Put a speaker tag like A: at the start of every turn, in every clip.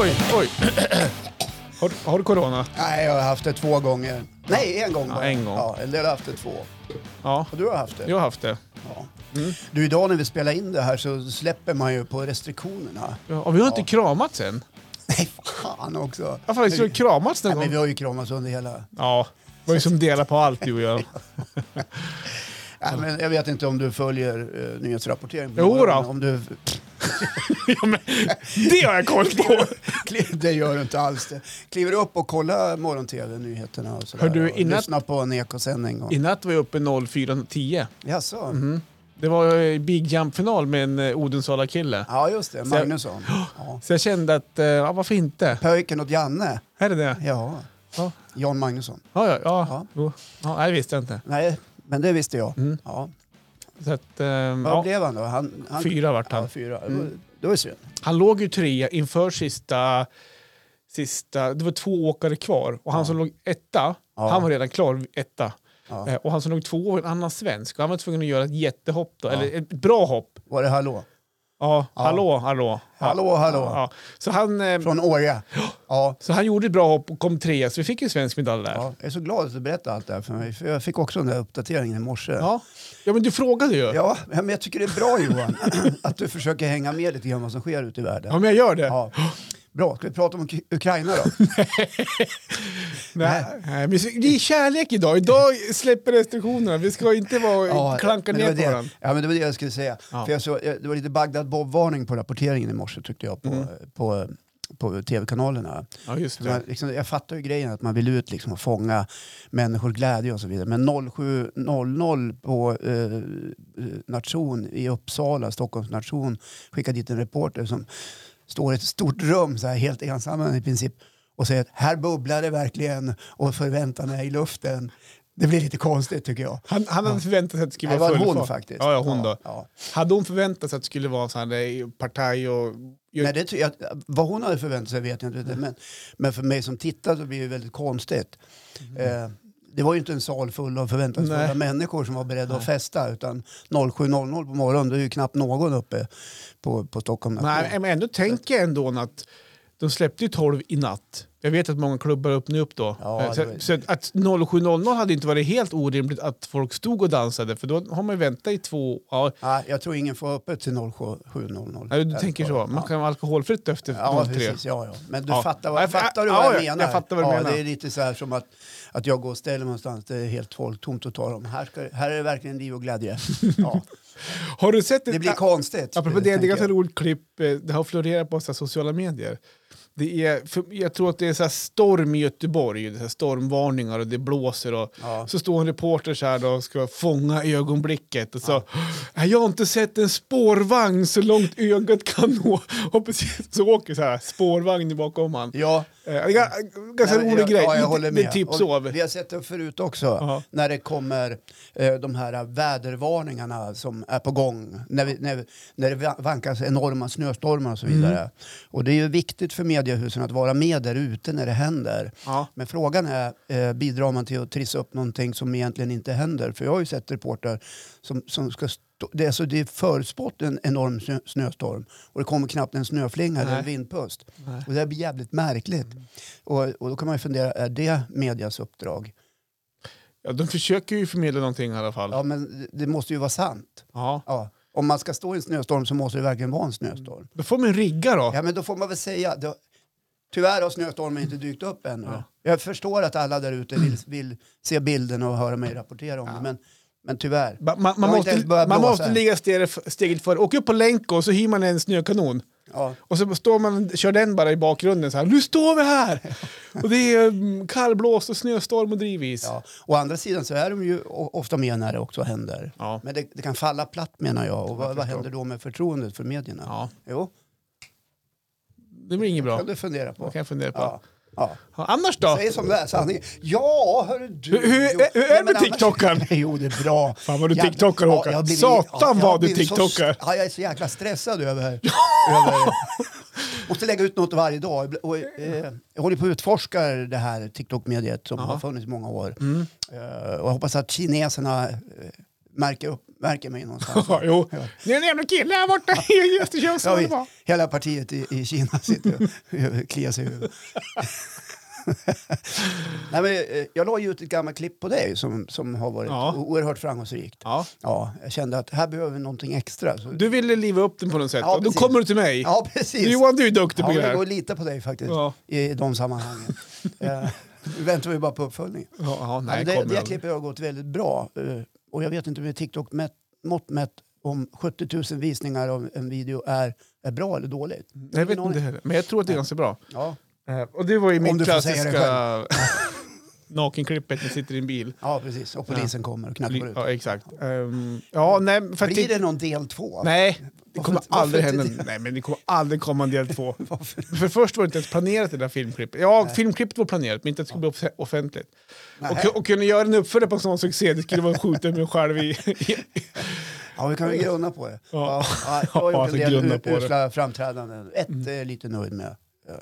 A: Oj, oj. Har, du- har du corona?
B: Nej, jag har haft det två gånger. Nej, en gång
A: Ja,
B: bara.
A: en gång.
B: Ja, eller jag har haft det två.
A: Ja,
B: Och du har haft det?
A: jag har haft det.
B: Ja. Du, idag när vi spelar in det här så släpper man ju på restriktionerna.
A: Ja, vi har inte kramats än.
B: Nej, fan också.
A: Ja, faktiskt, vi har kramats någon
B: Nej, men vi
A: gång.
B: har ju kramats under hela...
A: Ja, det var ju som delar på allt du och jag.
B: Nej, men jag vet inte om du följer uh, nyhetsrapporteringen. på
A: Jo då.
B: morgonen, Om du...
A: Ja, men, det har jag koll på!
B: Kli- det gör du inte alls. Det. Kliver upp och kolla morgon-tv, nyheterna och sådär.
A: Hör du,
B: och
A: innan-
B: Lyssna på en ekosändning. Och...
A: I natt var jag uppe 04.10.
B: Jaså?
A: Mhm. Det var eh, Big Jump-final med en eh, Odensala-kille.
B: Ja, just det.
A: Så jag-
B: Magnusson. Ja.
A: Så jag kände att, eh, ja, varför inte?
B: Pöjken åt Janne.
A: Är det det?
B: Ja.
A: Ja,
B: Jan Magnusson.
A: ja, ja. ja.
B: Ja.
A: Jo. ja nej, det visste jag inte.
B: Nej, men det visste jag. Ja.
A: Så att, eh,
B: Vad
A: Mm. ja,
B: blev han då? Han, han...
A: fyra Mm. vart han.
B: Ja, fyra. Det var- Det var ju synd.
A: Han låg ju trea inför sista, sista... Det var två åkare kvar och han som låg etta,
B: Ja.
A: han var redan klar etta.
B: Ja.
A: Eh, Och han som låg två var en annan svensk och han var tvungen att göra ett jättehopp då, eller ett bra hopp.
B: Var det hallå?
A: Ja, hallå, hallå.
B: Hallå, hallå.
A: Ja. Så, han, eh,
B: Från Åre. Ja.
A: så han gjorde ett bra hopp och kom trea, så vi fick en svensk medalj där. Ja.
B: ja. Jag är så glad att du berättade allt det här för mig. För jag fick också den där uppdateringen i morse.
A: Ja. men du frågade ju. Ja,
B: Ja, men jag tycker det är bra Johan, att du försöker hänga med lite grann vad som sker ute i världen.
A: men jag gör det.
B: Ja. Bra, ska vi prata om Uk- Ukraina då?
A: Nej. Nej, men det är kärlek idag. Idag släpper restriktionerna. Vi ska inte vara, klanka
B: men det
A: ner
B: var
A: på
B: det-
A: varandra.
B: Ja, men det var det jag skulle säga.
A: Ja.
B: För jag såg, jag- det var lite Bagdad Bob-varning på rapporteringen i morse tyckte jag på, på, på, tv-kanalerna.
A: Mm. Ja, just
B: Så man,
A: det.
B: liksom, jag fattar ju grejen att man vill ut liksom, och fånga människor glädje och så vidare. Men 07.00 på eh, eh, Nation i Uppsala, Stockholms Nation, skickade dit en reporter som står i ett stort rum, så här, helt ensam i princip, och säger att här bubblar det verkligen och förväntan är i luften. Det blir lite konstigt tycker jag.
A: Han, han hade förväntat sig att det skulle
B: Det
A: vara
B: var en
A: full
B: hon
A: fart.
B: faktiskt.
A: Ja, ja, hon då.
B: Ja.
A: Hade hon förväntat sig att det skulle vara så här, nej, partaj och...
B: Nej, det, tror jag, vad hon hade förväntat sig vet jag inte.
A: Mm.
B: Men, men för mig som tittar så blir det väldigt konstigt. Eh, det var ju inte en sal full av förväntansfulla
A: Mm. Nej.
B: människor som var beredda att festa. Utan 07.00 på morgonen, då är ju knappt någon uppe på, på Stockholm.
A: Nej, men ändå tänker jag ändå att de släppte ju 12 i natt. Jag vet att många klubbar öppnade upp då.
B: Ja,
A: Eh, så
B: det var-
A: så att 07.00 hade inte varit helt orimligt att folk stod och dansade för då har man ju väntat i två... Ja,
B: Nej, jag tror ingen får öppet till 07.00.
A: nej, du tänker så. Man
B: Ja.
A: kan vara alkoholfritt efter
B: Ja,
A: 03.
B: precis. Ja, ja. Men du
A: Ja.
B: fattar
A: Ja,
B: vad,
A: jag fa-
B: fattar du
A: ja,
B: vad jag
A: ja, jag
B: menar?
A: fattar vad du
B: ja,
A: menar.
B: Det är lite så här som att, att jag går och ställer mig någonstans, det är helt folktomt och tar dem. Här, ska, här är det verkligen liv och glädje. Ja.
A: Har du sett...
B: Det blir
A: ett-
B: konstigt.
A: Apropå det, det är
B: tänker
A: ganska
B: jag.
A: roligt klipp. eh, Det har florerat på så här sociala medier. Det är, för jag tror att det är så här storm i Göteborg, det är så här stormvarningar och det blåser. Och
B: Ja.
A: Så står en reporter så här då och ska fånga ögonblicket. Och så, "Nej, Jag har inte sett en spårvagn så långt ögat kan nå. Och precis så åker så här spårvagn bakom han.
B: Ja.
A: Eh, Det är ga- ganska
B: Nej, men
A: rolig
B: jag,
A: grej.
B: Ja, jag
A: Lite-
B: håller
A: lite
B: med.
A: tips
B: Och
A: av.
B: Vi har sett det förut också.
A: Ja.
B: När det kommer eh, de här eh, vädervarningarna som är på gång. När, vi, när, vi- när det va- vankas enorma snöstormar och så
A: Mm.
B: vidare. Och det är ju viktigt för mediehusen att vara med där ute när det händer.
A: Ja.
B: Men frågan är, eh, bidrar man till att trissa upp någonting som egentligen inte händer? För jag har ju sett reportrar som, som ska stå, det, är så det är förutspått en enorm snö, snöstorm och det kommer knappt en snöflinga eller
A: Nej. Mm.
B: en vindpust. Och det här blir jävligt märkligt. Och, och då kan man ju fundera, är det medias uppdrag?
A: Ja, de försöker ju förmedla någonting i alla fall.
B: Ja, men det- det måste ju vara sant.
A: Ja.
B: Ja. Om man ska stå i en snöstorm så måste det verkligen vara en snöstorm.
A: Då får man rigga då.
B: Ja, men då får man väl säga, då, tyvärr har snöstormen inte dykt upp ännu. Jag förstår att alla där ute vill, vill se bilden och höra mig rapportera om det, men, men tyvärr.
A: Ba- Man,
B: Det har
A: man,
B: inte
A: måste,
B: ens börjat
A: man
B: blåsa
A: måste
B: än.
A: ligga steget, steget före. Åk upp på länk och så hyr man en snökanon.
B: Ja.
A: Och så står man, kör den bara i bakgrunden så här. Nu står vi här! och det är mm, kallblåst och snöstorm och drivis.
B: Ja. Å andra sidan så är de ju o- ofta med när det också händer.
A: Ja.
B: Men det, det kan falla platt menar jag. Och vad, vad händer då med förtroendet för medierna?
A: Ja.
B: Jo,
A: Det blir inget bra.
B: kan du fundera på.
A: Det kan jag fundera på.
B: Ja. Ja.
A: Ja, Annars då?
B: Säg som det är, sanningen. Ja, hörru du.
A: Hur- hur-
B: Jo.
A: hur är det
B: Nej, men
A: med
B: annars-
A: TikTokaren?
B: Jo, det är bra.
A: Fan, vad du
B: Jävlar.
A: TikTokar,
B: Ja,
A: Håkan.
B: jag har blivit-
A: Satan,
B: jag har
A: vad du
B: blivit så
A: TikTokar.
B: st- Ja, jag är så jäkla stressad över... över måste lägga ut något varje dag. Och, eh, jag håller på att utforska det här
A: Mm.
B: TikTok-mediet som har funnits i många år. Eh, och jag hoppas att kineserna eh, märker upp märker mig någonstans.
A: Ja, jo. Det är en jävla kille här borta i Östersund som
B: Ja,
A: håller
B: vi,
A: på.
B: hela partiet i, i Kina sitter och- och kliar sig i huvudet. Nej, men, eh, jag la ju ut ett gammalt klipp på dig som, som har varit
A: Ja.
B: o- oerhört framgångsrikt. Ja.
A: Ja.
B: jag kände att här behöver vi någonting extra. Så,
A: Du ville liva upp den på något sätt
B: Ja,
A: och då
B: precis.
A: kommer du till mig.
B: ja, precis.
A: Johan, du är duktig
B: ja,
A: på
B: men
A: det
B: det går
A: här.
B: att lita på dig faktiskt
A: Ja.
B: i de sammanhangen. Eh, Nu väntar vi bara på uppföljningen.
A: Ja, ja,
B: Nej,
A: nej,
B: det,
A: kommer
B: det här
A: jag.
B: klippet har gått väldigt bra. eh, Och jag vet inte med TikTok mätt, mått mätt om 70 000 visningar av en video är, är bra eller dåligt.
A: Nej, Jag vet
B: Ingen
A: inte heller, men jag tror att det är ganska bra.
B: Ja,
A: Eh, Och det var ju min
B: du får säga det
A: klassiska nakenklippet när jag sitter i en bil.
B: ja precis. Och polisen kommer och knackar ut.
A: Ja, exakt. Ehm, ja, nej, men för att
B: Blir det någon del två?
A: Nej, det
B: Varför
A: kommer
B: inte- varför
A: aldrig
B: inte
A: hända.
B: det?
A: Nej, men det kommer aldrig komma en del två.
B: Varför?
A: För först var det inte ens planerat det där filmklippet. Ja, filmklippet var planerat, men inte att det skulle bli off- offentligt.
B: Nej.
A: Och, och kunna göra en uppföljare på en sån succé, det skulle vara att skjuta mig själv i... i
B: Ja, vi kan väl grunna på det.
A: Ja.
B: Ja. Ja, jag har
A: Ja,
B: gjort
A: alltså,
B: en del
A: grunna
B: u-
A: på det. Mm.
B: usla framträdanden. Ett är jag lite nöjd med. eh,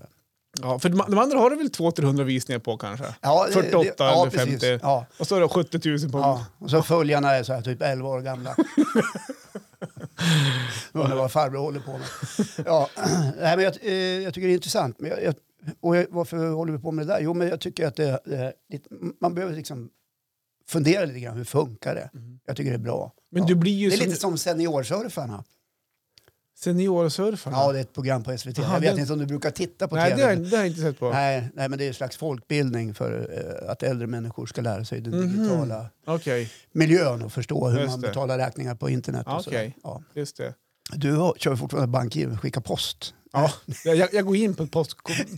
A: ja, för de, de andra har du väl 200-300 visningar på kanske?
B: Ja, det-
A: 48
B: det- ja,
A: eller 50.
B: precis. Ja.
A: Och så är det 70 000 på...
B: Ja, och så följarna är så här, typ 11 år gamla. Undrar vad farbror håller på med. Ja, nej, men jag, eh, jag tycker det är intressant. Men jag, jag, och jag, varför håller vi på med det där? Jo, men jag tycker att det, det, är lite- man behöver liksom fundera lite grann. Hur funkar det?
A: Mm.
B: Jag tycker det är bra.
A: Men
B: ja.
A: du blir ju
B: det är
A: som
B: lite som seniorsurfarna.
A: seniorsurfare.
B: Ja, det är ett program på SVT.
A: Jaha,
B: jag vet
A: det-
B: inte om du brukar titta på
A: nej, det
B: tv.
A: har, jag- det har jag inte sett på.
B: Nej, nej, men det är en slags folkbildning för eh, att äldre människor ska lära sig den digitala
A: Okej,
B: miljön och förstå hur
A: Mhm. Just
B: man
A: det.
B: betalar räkningar på internet.
A: Ja,
B: Och sådär.
A: okej.
B: ja.
A: just det.
B: Du har- kör fortfarande bankgiro, skicka post.
A: Ja, jag, jag- jag går in på ett post,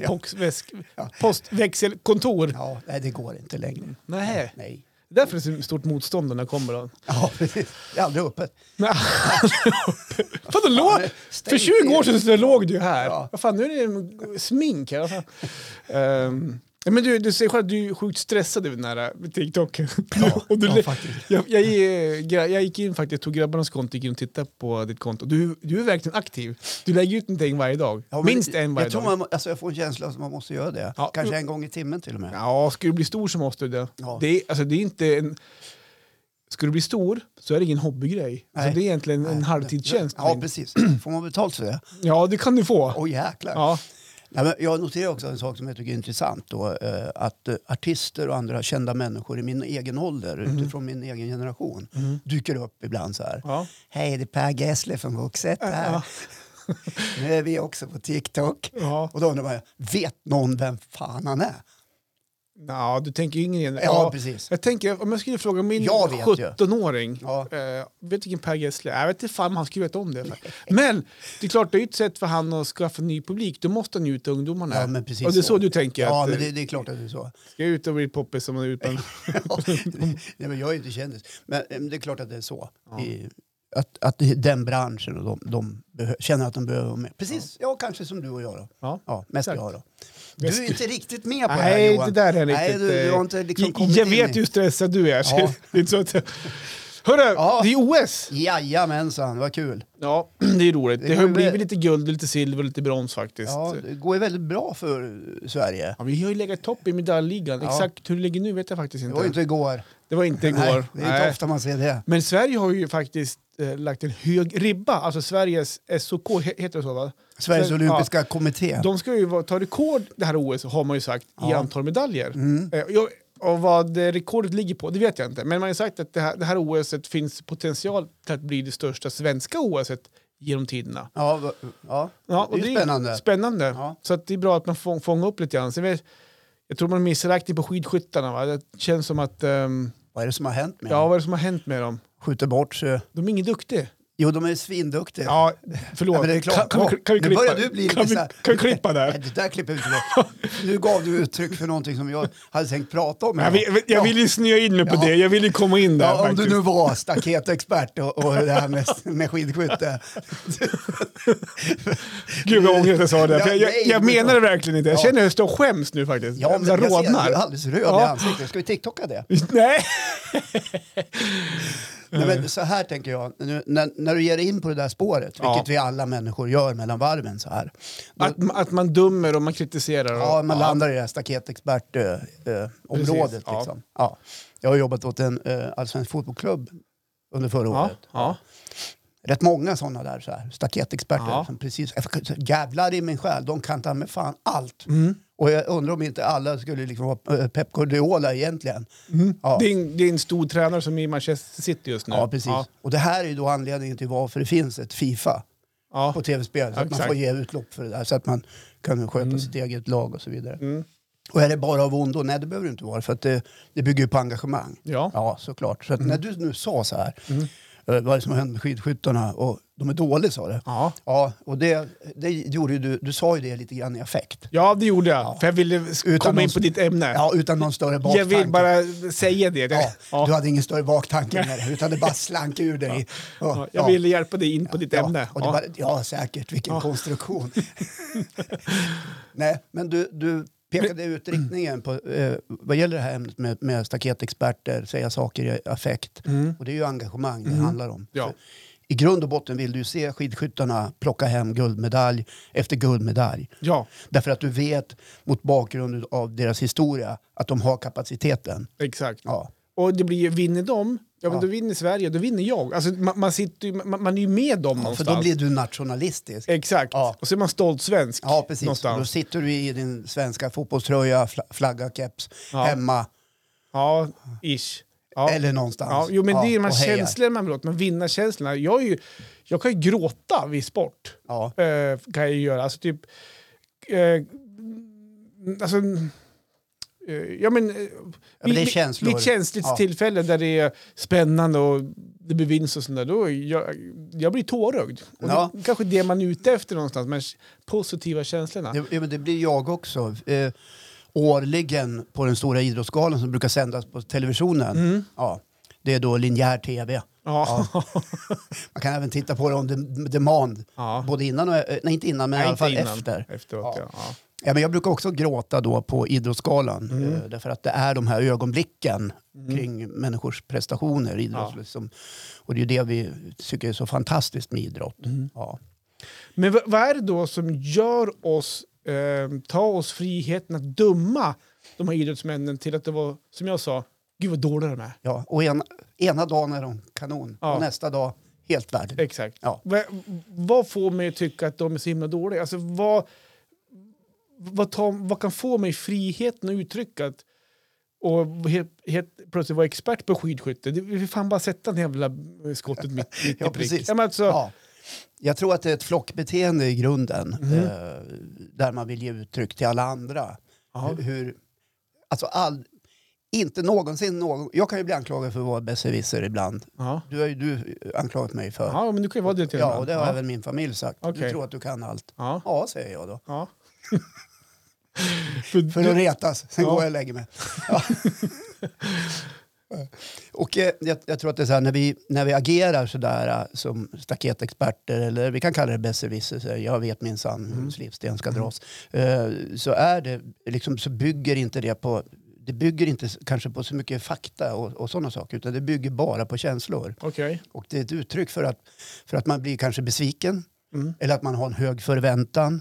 A: postväsk, postväxelkontor.
B: Ja, nej, det går inte längre.
A: Nej.
B: Nej.
A: Därför är det så stort motstånd när jag kommer. Då.
B: Ja, precis. Det är aldrig öppet.
A: Nej. Fan, då låg,
B: nej, stäng
A: för 20 år
B: till.
A: sedan så låg du ju här.
B: Ja.
A: Vad fan, nu är det smink här. Vad fan. Ehm, ja, men du, du säger själv att du är sjukt stressad över den här TikTok. och du,
B: ja, faktiskt.
A: jag, jag, jag, jag gick in faktiskt, tog grabbarnas konto, gick in och tittade på ditt konto. Du, du är verkligen aktiv. Du lägger ut någonting varje dag.
B: Ja, men
A: Minst en varje
B: jag,
A: dag.
B: tror man, må- alltså, jag får en känsla att man måste göra det.
A: Ja.
B: Kanske en gång i timmen till och med.
A: Ja, ska du bli stor så måste du det.
B: Ja.
A: Det, är, alltså, det är inte en... Ska du bli stor så är det ingen hobbygrej. Alltså,
B: Nej.
A: det är egentligen en halvtidstjänst.
B: Ja, precis. Får man betalt för det?
A: ja, det kan du få.
B: Åh jäklar.
A: Ja.
B: Nej, men jag noterar också en sak som jag tycker är intressant. Då, eh, att eh, artister och andra kända människor i min egen ålder, utifrån min egen generation, dyker upp ibland så här.
A: Mhm. Ja.
B: Hej, det är Per Gessle från Vuxet här. nu är vi också på TikTok.
A: Ja.
B: Och då undrar man, vet någon vem fan han är?
A: Ja, du tänker yngre igen.
B: Ja, precis.
A: Jag tänker, om jag skulle fråga min
B: Jag vet ju.
A: 17-åring,
B: Ja.
A: eh, vet du vilken Per Gessle är? Jag vet inte fan om han skulle veta om det. Men det är klart, det är ju ett sätt för han att skaffa ny publik. Då måste han ju ut till ungdomarna.
B: Ja, men precis
A: och det är så,
B: så.
A: du tänker?
B: Ja,
A: att,
B: men det,
A: eh,
B: det är klart att det är så.
A: Ska jag ut och bli poppis som man är utan...
B: Ja, Nej, men jag är ju inte kändis. Men eh, det är klart att det är så. I, att, att det är den branschen och de, de behö- känner att de behöver vara med. Precis, ja. kanske som du och jag då.
A: Ja.
B: Ja, mest
A: Exakt.
B: jag då. Du är inte riktigt med på det här
A: Nej,
B: Johan.
A: det där är riktigt...
B: Nej, du, du har inte
A: eh,
B: liksom
A: jag-
B: kommit
A: Jag
B: in
A: vet
B: i-
A: hur stressad du är. så
B: Ja.
A: det är inte så att jag... Hörru,
B: Ja.
A: det är OS!
B: Jajamensan, vad kul.
A: Ja, det är roligt.
B: Det
A: Det har
B: kommer-
A: blivit lite guld, lite silver och lite brons faktiskt.
B: Ja, det går ju väldigt bra för Sverige.
A: Ja, vi har ju legat topp i medaljligan.
B: Ja.
A: Exakt hur det ligger nu vet jag faktiskt
B: Det
A: inte.
B: var ju inte igår.
A: igår.
B: Nej, det är
A: Nej.
B: inte ofta man ser det.
A: Men Sverige har ju faktiskt eh, lagt en hög ribba. Alltså Sveriges SOK, he- heter det så va?
B: Sveriges
A: Så-
B: olympiska kommitté.
A: Ja, de ska ju vara- ta rekord det här OS har man ju sagt i
B: Ja.
A: antal medaljer.
B: Mm.
A: Eh, jag- Och vad eh, rekordet ligger på, det vet jag inte. Men man har ju sagt att det här, det här OSet finns potential till att bli det största svenska OSet genom tiderna.
B: Ja, va- ja.
A: Ja,
B: det är ju spännande.
A: Spännande.
B: Ja.
A: Så att det är bra att man få, fångar upp lite grann. Sen vet, jag tror man missräkning på skidskyttarna. Va? Det känns som att, ehm,
B: Vad är det som har hänt med
A: ja
B: dem?
A: vad är det som har hänt med dem?
B: Skjuter bort sig.
A: De är inget duktiga.
B: Jo, de är ju svinduktiga.
A: Ja, förlåt.
B: Ja, men det är klart.
A: Kan, kan, vi- kan vi
B: Nu
A: klippa?
B: börjar du bli
A: kan,
B: lite
A: vi,
B: så här-
A: kan vi klippa
B: Nej,
A: där?
B: det där klipper vi inte bort. Nu gav du uttryck för någonting som jag hade tänkt prata om.
A: Jag vill, jag vill ju snöa in mig på
B: Ja.
A: det. Jag vill ju komma in där
B: Ja, om du
A: faktiskt.
B: nu var staketexpert och, och det här med, med skidskytte.
A: Gud vad jag ångrar att jag sa det. För jag,
B: Ja,
A: jag,
B: nej,
A: jag
B: men-
A: menar det verkligen inte. Jag
B: Ja.
A: känner hur jag står och skäms nu faktiskt.
B: Ja, men
A: jag
B: jag ser, du
A: rodnar.
B: är alldeles röd i
A: Ja.
B: ansiktet. Ska vi TikToka det?
A: Nej!
B: Nej, men så här tänker jag, nu, när, när du ger dig in på det där spåret, vilket
A: Ja.
B: vi alla människor gör mellan varven så här. Då,
A: Att, att man dömer och man kritiserar. Och,
B: ja, man landar i det här staketexpertområdet. Eh, området
A: ja.
B: liksom. ja. Jag har jobbat åt en eh, allsvensk fotbollsklubb under förra
A: Ja,
B: året.
A: ja.
B: Rätt många sådana där så här, staketexperter.
A: Ja.
B: Som precis, jävlar i min själ, de kan ta med fan allt.
A: Mm.
B: Och jag undrar om inte alla skulle liksom vara eh, Pep Guardiola egentligen.
A: Mm.
B: Ja.
A: Det, är en, det är en stor tränare som är i Manchester City just nu.
B: Ja, precis. Och det här är ju då anledningen till varför det finns ett Fifa
A: Ja.
B: på tv-spel. Så
A: Ja,
B: att man
A: exakt.
B: får ge utlopp för det där. Så att man kan sköta sitt eget lag och så vidare.
A: Mm.
B: Och är det bara av ondo? Nej, det behöver det inte vara. För att det, det bygger ju på engagemang.
A: Ja. Mm.
B: Ja, såklart. Så att när du nu sa så här, eh, vad är det som händer med skidskyttarna? Och de är dåliga, sa du.
A: Ja.
B: Ja, och det, det gjorde ju du. Du sa ju det lite grann i affekt.
A: ja, det gjorde jag. För jag ville s-
B: Utan
A: komma in
B: någon-
A: på ditt ämne.
B: Ja, utan någon större baktanke.
A: jag vill bara säga det.
B: Ja,
A: Ja.
B: Du hade ingen större baktanke med det, utan det bara slank ur dig.
A: Ja, Jag ville hjälpa dig in på ditt ämne.
B: Ja, och det
A: Ja.
B: Bara, ja säkert. Vilken konstruktion. Nej, men du, du pekade ut riktningen på, eh, vad gäller det här ämnet med, med staketexperter, säga saker i affekt. Och det är ju engagemang det handlar om.
A: Mm. Ja.
B: För I grund och botten vill du se skidskyttarna plocka hem guldmedalj efter guldmedalj.
A: ja,
B: Därför att du vet, mot bakgrund av deras historia, att de har kapaciteten.
A: exakt.
B: Ja.
A: Och det blir ju, vinner de, ja, men
B: Ja.
A: då vinner Sverige, då vinner jag. Alltså, man, man, sitter, ju- man, man är ju med dem
B: Ja, för
A: någonstans.
B: då blir du nationalistisk.
A: Exakt.
B: Ja.
A: Och så är man stolt svensk
B: Ja, precis. Då
A: någonstans.
B: sitter du i din svenska fotbollströja, fla- flagga, keps,
A: Ja.
B: hemma
A: Ja, ish. Ja.
B: eller någonstans.
A: Ja, jo, men det är ju de här
B: och hejar.
A: känslorna man vill åt, men vinnarkänslorna. Jag, är ju, jag kan ju gråta vid sport.
B: Ja.
A: eh, kan jag ju göra. Alltså typ... Eh, alltså, eh, ja, men, eh,
B: men det är
A: vid-
B: känslor.
A: Vid ett känsligt
B: Ja.
A: tillfälle där det är spännande och det bevinns och sånt där, då är jag, jag blir tårögd. Och
B: Ja.
A: det, är kanske det man är ute efter någonstans, men positiva känslorna.
B: Det, ja, men det blir jag också. Eh, årligen på den stora idrottsgalan som brukar sändas på televisionen. Ja, det är då linjär tv.
A: Mm. ja.
B: Man kan även titta på det om de- demand.
A: Ja.
B: Både innan och... eh, Nej, inte innan, men i alla fall efter.
A: Efteråt, ja.
B: Ja.
A: Ja.
B: Ja, men jag brukar också gråta då på idrottsgalan.
A: Mm.
B: eh, Därför att det är de här ögonblicken kring människors prestationer. i Idrott,
A: Ja.
B: liksom. Och det är ju det vi tycker är så fantastiskt med idrott.
A: Mm.
B: Ja.
A: Men v- vad är det då som gör oss eh, ta oss friheten att döma de här idrottsmännen till att det var, som jag sa, gud vad dåliga de är.
B: Ja. Och en, ena dagen är de kanon
A: Ja.
B: och nästa dag helt värdelös.
A: Exakt.
B: Ja.
A: Va, vad får mig att tycka att de är så himla dåliga? Alltså, vad, vad, tar, vad kan få mig friheten att uttrycka att och helt, helt plötsligt vara expert på skidskytte. Det vi får fan bara sätta det jävla skottet mitt, mitt
B: Ja,
A: i prick.
B: precis.
A: Ja, men alltså,
B: Ja. Jag tror att det är ett flockbeteende i grunden.
A: Mm.
B: Eh, där man vill ge uttryck till alla andra.
A: Ja.
B: Hur, hur, alltså all, inte någonsin någon... Jag kan ju bli anklagad för att vara besserwisser ibland.
A: ja.
B: Du har ju du anklagat mig för.
A: ja, men du kan ju vara det till
B: Ja,
A: ibland.
B: och det har
A: ja.
B: även min familj sagt. Du
A: Okej.
B: tror att du kan allt.
A: Ja.
B: Ja, säger jag då.
A: Ja. För
B: För att retas. Sen
A: Ja.
B: går jag och lägger mig. Ja. och eh, jag, jag tror att det är så här, när vi, när vi agerar sådär eh, som staketexperter, eller vi kan kalla det besserwisser, så här, jag vet minsann
A: Mm.
B: hur en slipsten ska dras, eh, så, är det, liksom, så bygger inte det på det bygger inte s- kanske på så mycket fakta och, och sådana saker, utan det bygger bara på känslor.
A: Okej.
B: Och det är ett uttryck för att, för att man blir kanske besviken
A: Mm.
B: eller att man har en hög förväntan.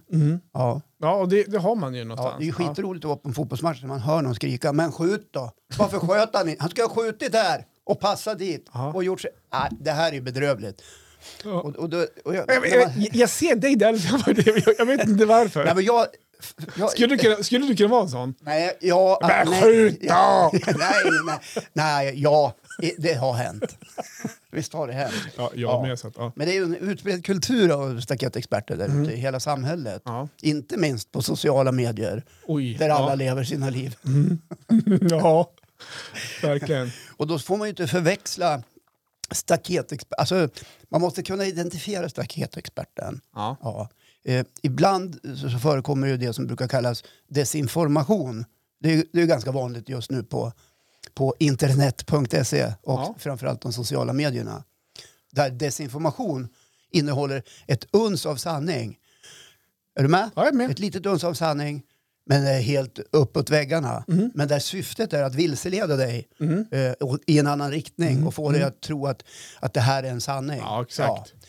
B: Ja.
A: Ja, och det, det har man ju
B: Mm. Ja,
A: någonstans.
B: det är ju skitroligt att vara på en fotbollsmatch när man hör någon skrika “men skjut då”. Varför sköt han inte? Han skulle ha skjutit här och passat dit
A: Ja.
B: och gjort sig... Nej, det här är ju bedrövligt.
A: Ja.
B: Och, och då, och jag,
A: Ja. Jag,
B: när man,
A: vet- jag, jag ser dig där, jag, jag vet inte varför.
B: nej, men jag, jag,
A: skulle, du kunna, skulle du kunna vara en sån?
B: Nej, ja...
A: Men
B: nej,
A: skjut då!
B: nej, nej, nej, ja, det har hänt. Visst har det hänt.
A: Ja, jag med. Så att, ja.
B: Men det är ju en utbredd kultur av staketexperter där ute i hela samhället.
A: Mm. Ja.
B: Inte minst på sociala medier
A: Oj.
B: där alla
A: ja. Mm.
B: lever sina liv.
A: ja, verkligen.
B: Och då får man ju inte förväxla staketexperter. Alltså, man måste kunna identifiera staketexperten.
A: Ja.
B: Ja. Eh, ibland så, så förekommer ju det som brukar kallas desinformation. Det är, ju- det är ju ganska vanligt just nu på, på internet.se och
A: Ja.
B: framförallt de sociala medierna. Där desinformation innehåller ett uns av sanning. Är du med?
A: Ja, jag är med.
B: Ett litet uns av sanning, men det är helt uppåt väggarna.
A: Mm.
B: Men där syftet är att vilseleda dig eh, och- i en annan riktning och få dig att tro att, att det här är en sanning.
A: Mm. Ja, exakt.
B: Ja.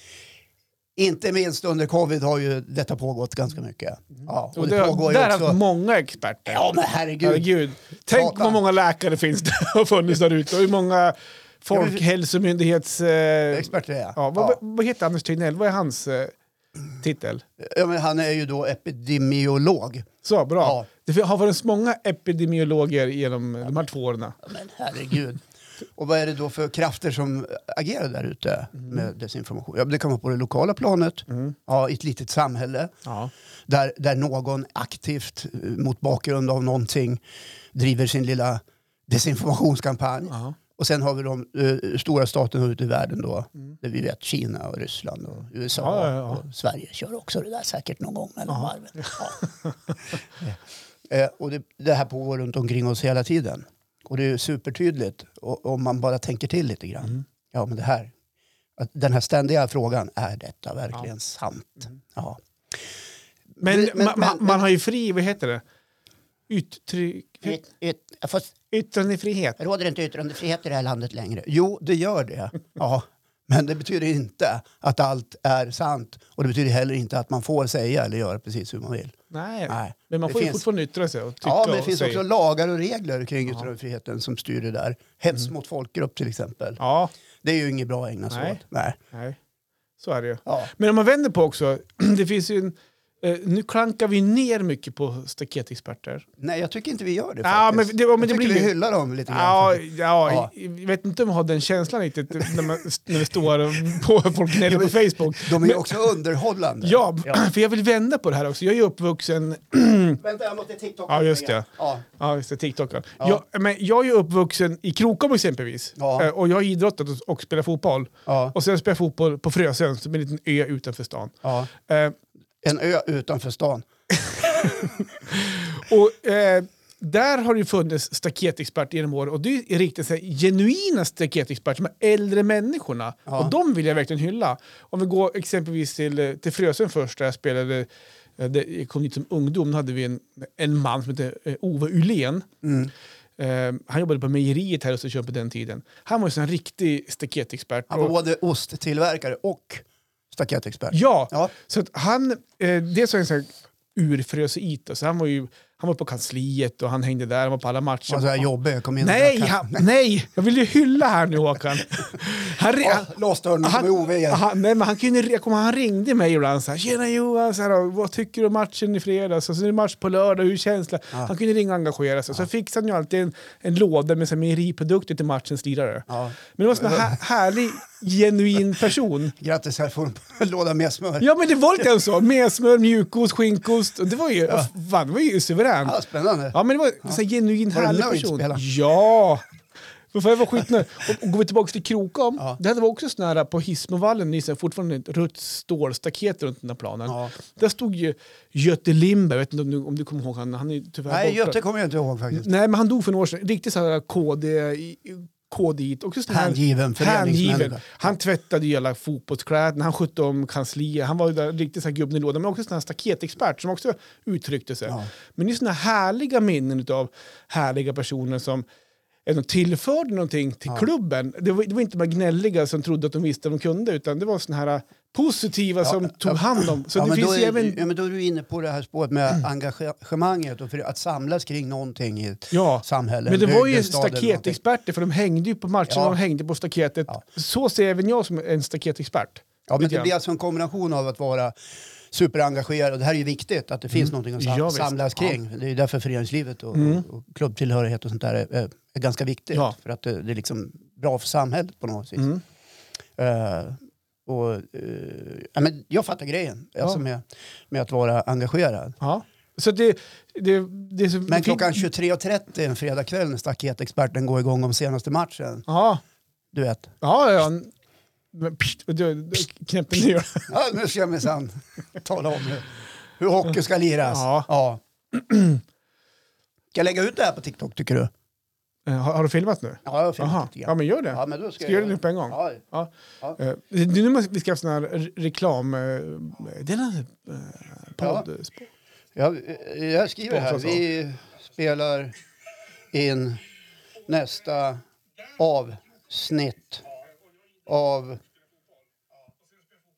B: Inte minst under covid har ju detta pågått ganska mycket. Ja,
A: Mm.
B: och
A: Och
B: det,
A: det,
B: pågår ju
A: där har
B: också...
A: haft många experter.
B: Ja, men herregud.
A: Herregud. Tänk
B: Prata.
A: vad många läkare finns det har funnits där ute och hur många Folkhälsomyndighets... Eh,
B: Expert är jag.
A: ja, vad, vad heter Anders Tegnell? Vad är hans eh, titel?
B: Ja, men han är ju då epidemiolog.
A: Så, bra.
B: Ja.
A: Det har funnits många epidemiologer genom de här två åren.
B: Ja, Men herregud. Och vad är det då för krafter som agerar där ute
A: Mm.
B: med desinformation? Ja, det kan vara på det lokala planet, ja, i ett litet samhälle
A: Ja.
B: där, där någon aktivt eh, mot bakgrund av någonting driver sin lilla desinformationskampanj.
A: Ja.
B: Och sen har vi de eh, stora staterna ute i världen då, där vi vet Kina och Ryssland och USA
A: Mm. Ja, ja, ja.
B: och Sverige kör också det där säkert någon gång mellan varven. Ja. Eh, och det, det här pågår runt omkring oss hela tiden. Och det är ju supertydligt o- om man bara tänker till lite grann.
A: Mm.
B: Ja, men det här, att den här ständiga frågan, är detta verkligen sant?
A: Mm.
B: Ja.
A: Men,
B: Men- men-
A: ma- ma-
B: men-
A: man har ju fri, vad heter det? Uttryck...
B: Yt, yt, fast
A: Yttrandefrihet.
B: råder inte yttrandefrihet i det här landet längre? Jo, det gör det. Ja. Men det betyder inte att allt är sant och det betyder heller inte att man får säga eller göra precis hur man vill.
A: Nej.
B: Nej,
A: men man
B: det
A: får ju
B: finns-
A: fortfarande yttra sig och tycka
B: Ja, men det
A: och
B: finns
A: säga.
B: också lagar och regler kring yttrandefriheten som styr det där. Hets mot folkgrupp till exempel.
A: Mm. Ja,
B: Det är ju inget bra att ägna sig
A: Nej.
B: åt. Nej.
A: nej. Så är det ju.
B: Ja.
A: Men om man vänder på också, det finns ju en... Eh, nu klankar vi ner mycket på staketexperter.
B: Nej, jag tycker inte vi gör det
A: Ja,
B: faktiskt.
A: men det- ja, men
B: jag
A: det
B: tycker
A: blir
B: vi
A: ju-
B: hyllar dem lite grann.
A: Ja,
B: faktiskt.
A: ja,
B: Ja.
A: Jag vet inte om jag har den känslan riktigt när, man, när det står på folk gnäller på Facebook.
B: De är ju
A: Men-
B: också underhållande.
A: Ja, för jag vill vända på det här också. Jag är ju uppvuxen
B: Vänta, jag måste TikTok.
A: Ja, just det.
B: Ja.
A: Ja, just det, TikTokaren.
B: Ja.
A: Jag, men jag är ju uppvuxen i Krokom exempelvis.
B: Ja.
A: Eh, Och jag har idrottat och, och spelat fotboll.
B: Ja.
A: Och sen spelar jag fotboll på Frösön, som är en liten ö utanför stan.
B: Ja.
A: Eh,
B: En ö utanför stan.
A: och eh, där har det ju funnits staketexperter genom åren. Och det är riktigt så här, genuina staketexperter, de här äldre människorna.
B: Ja.
A: Och de vill jag verkligen hylla. Om vi går exempelvis till, eh, till Frösön först, där jag spelade eh, det- jag kom dit som ungdom, då hade vi en, en man som hette eh, Ove Ulén.
B: Mm.
A: Eh, han jobbade på mejeriet här i Östersund på den tiden. Han var ju sån här riktig staketexpert.
B: Han var
A: Och-
B: både osttillverkare och staketexpert.
A: Ja,
B: Ja.
A: så att han, eh, dels var han sån här urfröseit, så han var ju han var på kansliet och han hängde där, han var på alla matcher.
B: Han var så här jobbig. Kom in och
A: nej,
B: drack
A: han, nej, jag vill ju hylla här nu Håkan. Han, re- han,
B: kaffe. Ah, Låste öronen som i OV igen.
A: han, nej, men han, kunde, jag kommer ihåg, han ringde mig ibland så här, tjena Johan, så här, vad tycker du om matchen i fredags? Och så är det match på lördag, hur känns det? Han kunde ringa och engagera sig. Så fixade han ju alltid en, en låda med så här mejeriprodukter till matchens lirare.
B: Ja.
A: Men det var en sån här härlig, genuin person.
B: Grattis, här får du en låda med smör.
A: Ja men det var lite grann så, med smör, mjukost, skinkost. Och det var ju, fan, det var ju suveränt.
B: Ah, spännande.
A: Ja men det var en sån här genuin
B: Var du
A: härlig
B: nöjd,
A: person.
B: spelaren?
A: Ja! Varför jag var skitnöjd. Och, och går vi tillbaka till Krokom,
B: Ja.
A: det hade var också sån här på Hismovallen, det är så här fortfarande ett rött stålstaket runt den där planen.
B: Ja.
A: Där stod ju Göte Lindberg, jag vet inte om du, om du kommer ihåg han, han är ju tyvärr
B: Nej,
A: borta.
B: Göte kommer jag inte ihåg faktiskt.
A: Nej men han dog för några år sedan, riktigt så här KD, i- KD hit. Också sån här- Hängiven.
B: Hängiven föreningsmänniska.
A: Han tvättade ju alla fotbollskläderna, han skötte om kansliet, han var ju där riktigt så här gubben i lådan, men också sån här staketexpert som också uttryckte sig.
B: Ja.
A: Men det är såna härliga minnen av härliga personer som ändå tillförde någonting till klubben. Det var, det var inte de här gnälliga som trodde att de visste vad de kunde, utan det var såna här positiva som tog hand om. Så
B: Ja,
A: det
B: men, då
A: finns ju
B: är,
A: även... Mm.
B: ja, men då är du inne på det här spåret med engagemanget och för att samlas kring någonting i ett
A: Ja,
B: samhälle.
A: Men det
B: en
A: var ju
B: bygd, en stad eller någonting.
A: staketexperter, för de hängde ju på matcherna,
B: Ja.
A: de hängde på staketet.
B: Ja.
A: Så ser även jag som en staketexpert.
B: Ja, men
A: Lite
B: det
A: grann.
B: blir alltså en kombination av att vara superengagerad, och det här är ju viktigt, att det finns någonting att
A: Mm. Ja,
B: sam-
A: visst.
B: samlas kring. Det är ju därför föreningslivet och, och, och klubbtillhörighet och sånt där är, är, är ganska viktigt.
A: Ja.
B: För att det, det är liksom bra för samhället på något vis.
A: Mm.
B: Eh, och, eh, ja, men jag fattar grejen, alltså med, med att vara engagerad.
A: Ja. Så det, det, det är så
B: Men klockan 23.30 en fredagkväll när staketexperten går igång om senaste matchen,
A: Ja,
B: du vet.
A: ja, ja. Men pst, och då- då knäppte ni ju.
B: Ja, nu ska jag minsann tala om hur, hur hockey ska liras.
A: Ja.
B: Ja. Ska jag lägga ut det här på TikTok tycker du?
A: Eh, Har, har du filmat nu?
B: Ja, jag har filmat
A: Jaha,
B: lite
A: ja
B: grann.
A: men gör det.
B: Ja, men då ska,
A: Ska jag göra det nu på en gång?
B: Ja,
A: Ja.
B: Ja.
A: Eh, det är Nu måste vi ska ha sån här re- reklam... eh, Det är en eh, podd.
B: jag, jag skriver här,
A: Sponsras av.
B: vi spelar in nästa avsnitt av...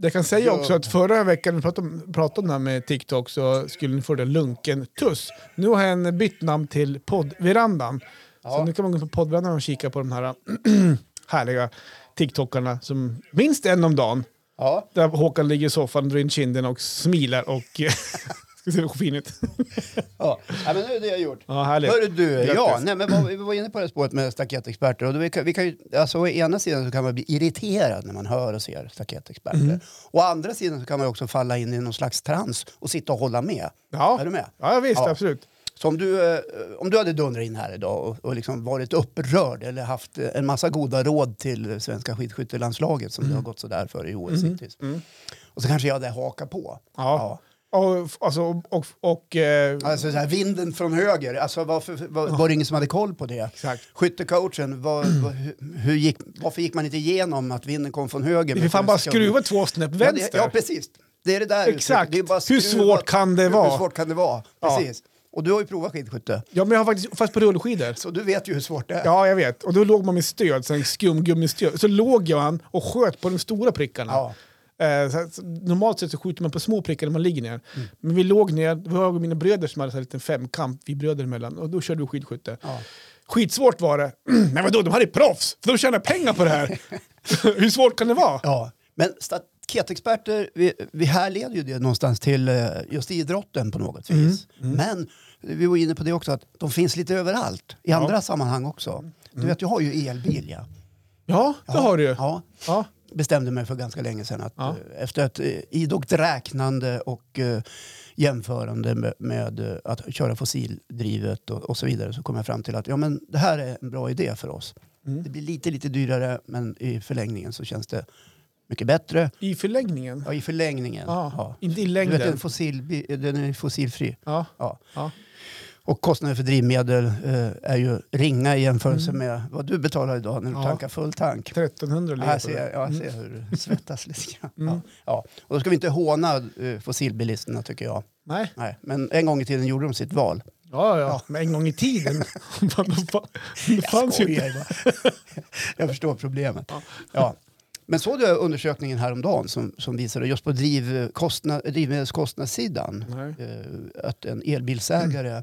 A: Jag kan säga också att förra veckan när vi pratade om, pratade om det här med TikTok så skulle ni få det lunken tuss. Nu har han bytt namn till poddverandan.
B: Ja.
A: Så nu kan man gå in på poddverandan och kika på de här härliga TikTokarna som minst en om dagen.
B: Ja.
A: Där Håkan ligger i soffan, drar in kinden och smilar och... ska se hur fin ut.
B: Ja. ja, men nu är det jag gjort.
A: Ja, härligt.
B: Hörru du, ja,
A: Grattis.
B: nej, men vad, vi var inne på det här spåret med staketexperter. Och då vi kan, vi kan ju, alltså, å ena sidan så kan man bli irriterad när man hör och ser staketexperter.
A: Mm.
B: Å andra sidan så kan man också falla in i någon slags trans och sitta och hålla med.
A: Ja.
B: Är du med?
A: Ja, visst,
B: Ja.
A: absolut.
B: Så om du, eh, om du hade dundrat in här idag och, och liksom varit upprörd eller haft eh, en massa goda råd till svenska skidskyttelandslaget
A: Mm.
B: som det har gått sådär för i OS hittills. Och så kanske jag hade hakat på.
A: Ja. Och, alltså, och, och, och eh,
B: Alltså så här, vinden från höger, alltså, varför, var, var det ingen som hade koll på det?
A: Exakt. Mm.
B: Skyttecoachen, var, var, hur- hur gick, varför gick man inte igenom att vinden kom från höger?
A: vi fan bara skruva två snäpp vänster.
B: Ja, det, ja, precis. Det är det där
A: Exakt.
B: uttrycket. Det är bara
A: Hur svårt kan det
B: hur,
A: vara?
B: Hur svårt kan det vara?
A: Ja.
B: Precis. Och du har ju provat skidskytte,
A: Ja, men jag har faktiskt, fast på rullskidor.
B: så du vet ju hur svårt det är.
A: Ja, jag vet. Och då låg man med stöd, sen skumgummistöd. Så låg jag han och sköt på de stora prickarna.
B: Ja.
A: Eh, så, att- så, normalt sett så skjuter man på små prickar när man ligger ner.
B: Mm.
A: Men vi låg ner, det var jag och mina bröder som hade en liten femkamp, vi bröder emellan, och då körde vi skidskytte.
B: Ja.
A: Skitsvårt var det. Men vadå, de här är proffs, för de tjänar pengar på det här. Hur svårt kan det vara?
B: Ja, men staketexperter, vi, vi härleder ju det någonstans till eh, just idrotten på något
A: Mm,
B: vis. Men vi var inne på det också att de finns lite överallt i andra sammanhang också. Du vet, jag har ju elbil. Ja.
A: Ja, Mm. det har du ju.
B: Ja,
A: Ja.
B: bestämde mig för ganska länge sedan att
A: Ja.
B: eh, efter ett eh, idogt räknande och eh, jämförande med, med eh, att köra fossildrivet och, och så vidare så kom jag fram till att ja, men det här är en bra idé för oss.
A: Mm.
B: Det blir lite, lite dyrare men i förlängningen så känns det mycket bättre.
A: I förlängningen.
B: Ja, i förlängningen.
A: Ja,
B: Ja.
A: Inte i
B: Du vet,
A: längden.
B: den, fossil, den är fossilfri.
A: Ja,
B: Ja.
A: ja.
B: Och kostnaden för drivmedel eh, är ju ringa i jämförelse med vad du betalar idag när du
A: Mm. Ja.
B: tankar full tank.
A: 1300
B: Ja,
A: ligger
B: Här
A: på
B: ser
A: det.
B: jag, ja, jag ser hur du svettas lite grann.
A: Mm.
B: Ja. Ja. Och då ska vi inte håna eh, fossilbilisterna tycker jag.
A: Nej,
B: Nej. Men en gång i tiden gjorde de sitt val.
A: ja, ja, men en gång i tiden. Fan, det fan- det fanns ju inte.
B: skojar bara. jag förstår problemet. Ja. Men såg du undersökningen häromdagen som, som visade just på drivkostnad, drivmedelskostnadssidan?
A: Nej.
B: eh, att en elbilsägare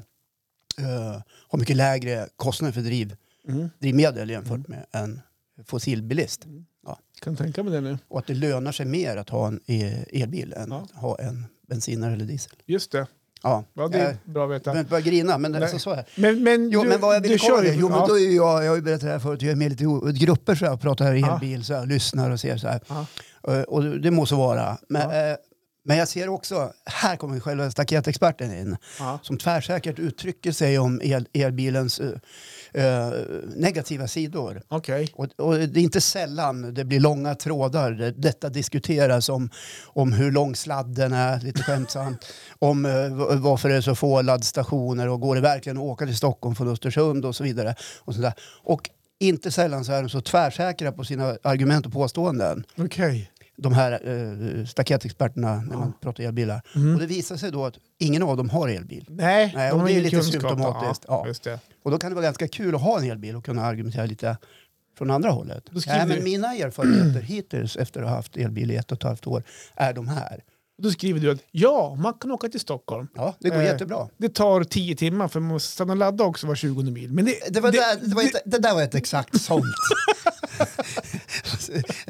B: eh, har mycket lägre kostnader för driv,
A: Mm.
B: drivmedel jämfört med en fossilbilist.
A: Kan tänka mig det nu.
B: Och att det lönar sig mer att ha en e- elbil än
A: Ja.
B: att ha en bensinare eller diesel.
A: Just det.
B: Ja,
A: Ja, det är
B: jag
A: bra att
B: jag
A: veta.
B: behöver inte börja grina, men det är
A: Nej.
B: alltså så här.
A: Men, men,
B: Jo,
A: du,
B: men vad jag
A: du
B: ville kolla
A: ju-
B: det. Jo, men
A: ja.
B: då är ju jag, jag har ju berättat det här förut, jag är med i lite o- grupper så här, och pratar i
A: Ja.
B: elbil så här, och lyssnar och ser så här.
A: Ja.
B: Eh, Och det må så vara. Men, eh, men jag ser också, här kommer själva staketexperten in,
A: Ja.
B: som tvärsäkert uttrycker sig om el, elbilens eh, eh, negativa sidor.
A: Okej.
B: Och, och det är inte sällan det blir långa trådar. där Detta diskuteras om, om hur lång sladden är, lite skämtsamt. om eh, va- varför det är så få laddstationer och går det verkligen att åka till Stockholm från Östersund och så vidare. Och, sådär. och inte sällan så är de så tvärsäkra på sina argument och påståenden.
A: Okej.
B: De här eh, staketexperterna när man pratar elbilar. Och det visar sig då att ingen av dem har elbil.
A: Nej,
B: Nej,
A: de
B: och
A: har
B: det är
A: ingen
B: lite
A: kunskap.
B: symptomatiskt,
A: Ja,
B: ja.
A: Just det.
B: Och då kan det vara ganska kul att ha en elbil och kunna argumentera lite från andra hållet.
A: Då skriver
B: Nej,
A: du-
B: men mina erfarenheter hittills efter att ha haft elbil i ett och ett halvt år är de här.
A: Då skriver du att ja, man kan åka till Stockholm.
B: Ja, det går
A: Eh,
B: jättebra.
A: Det tar tio timmar för man måste stanna och ladda också var 20 mil. Men det,
B: Det, var där, det, var inte, det där var ett exakt sånt.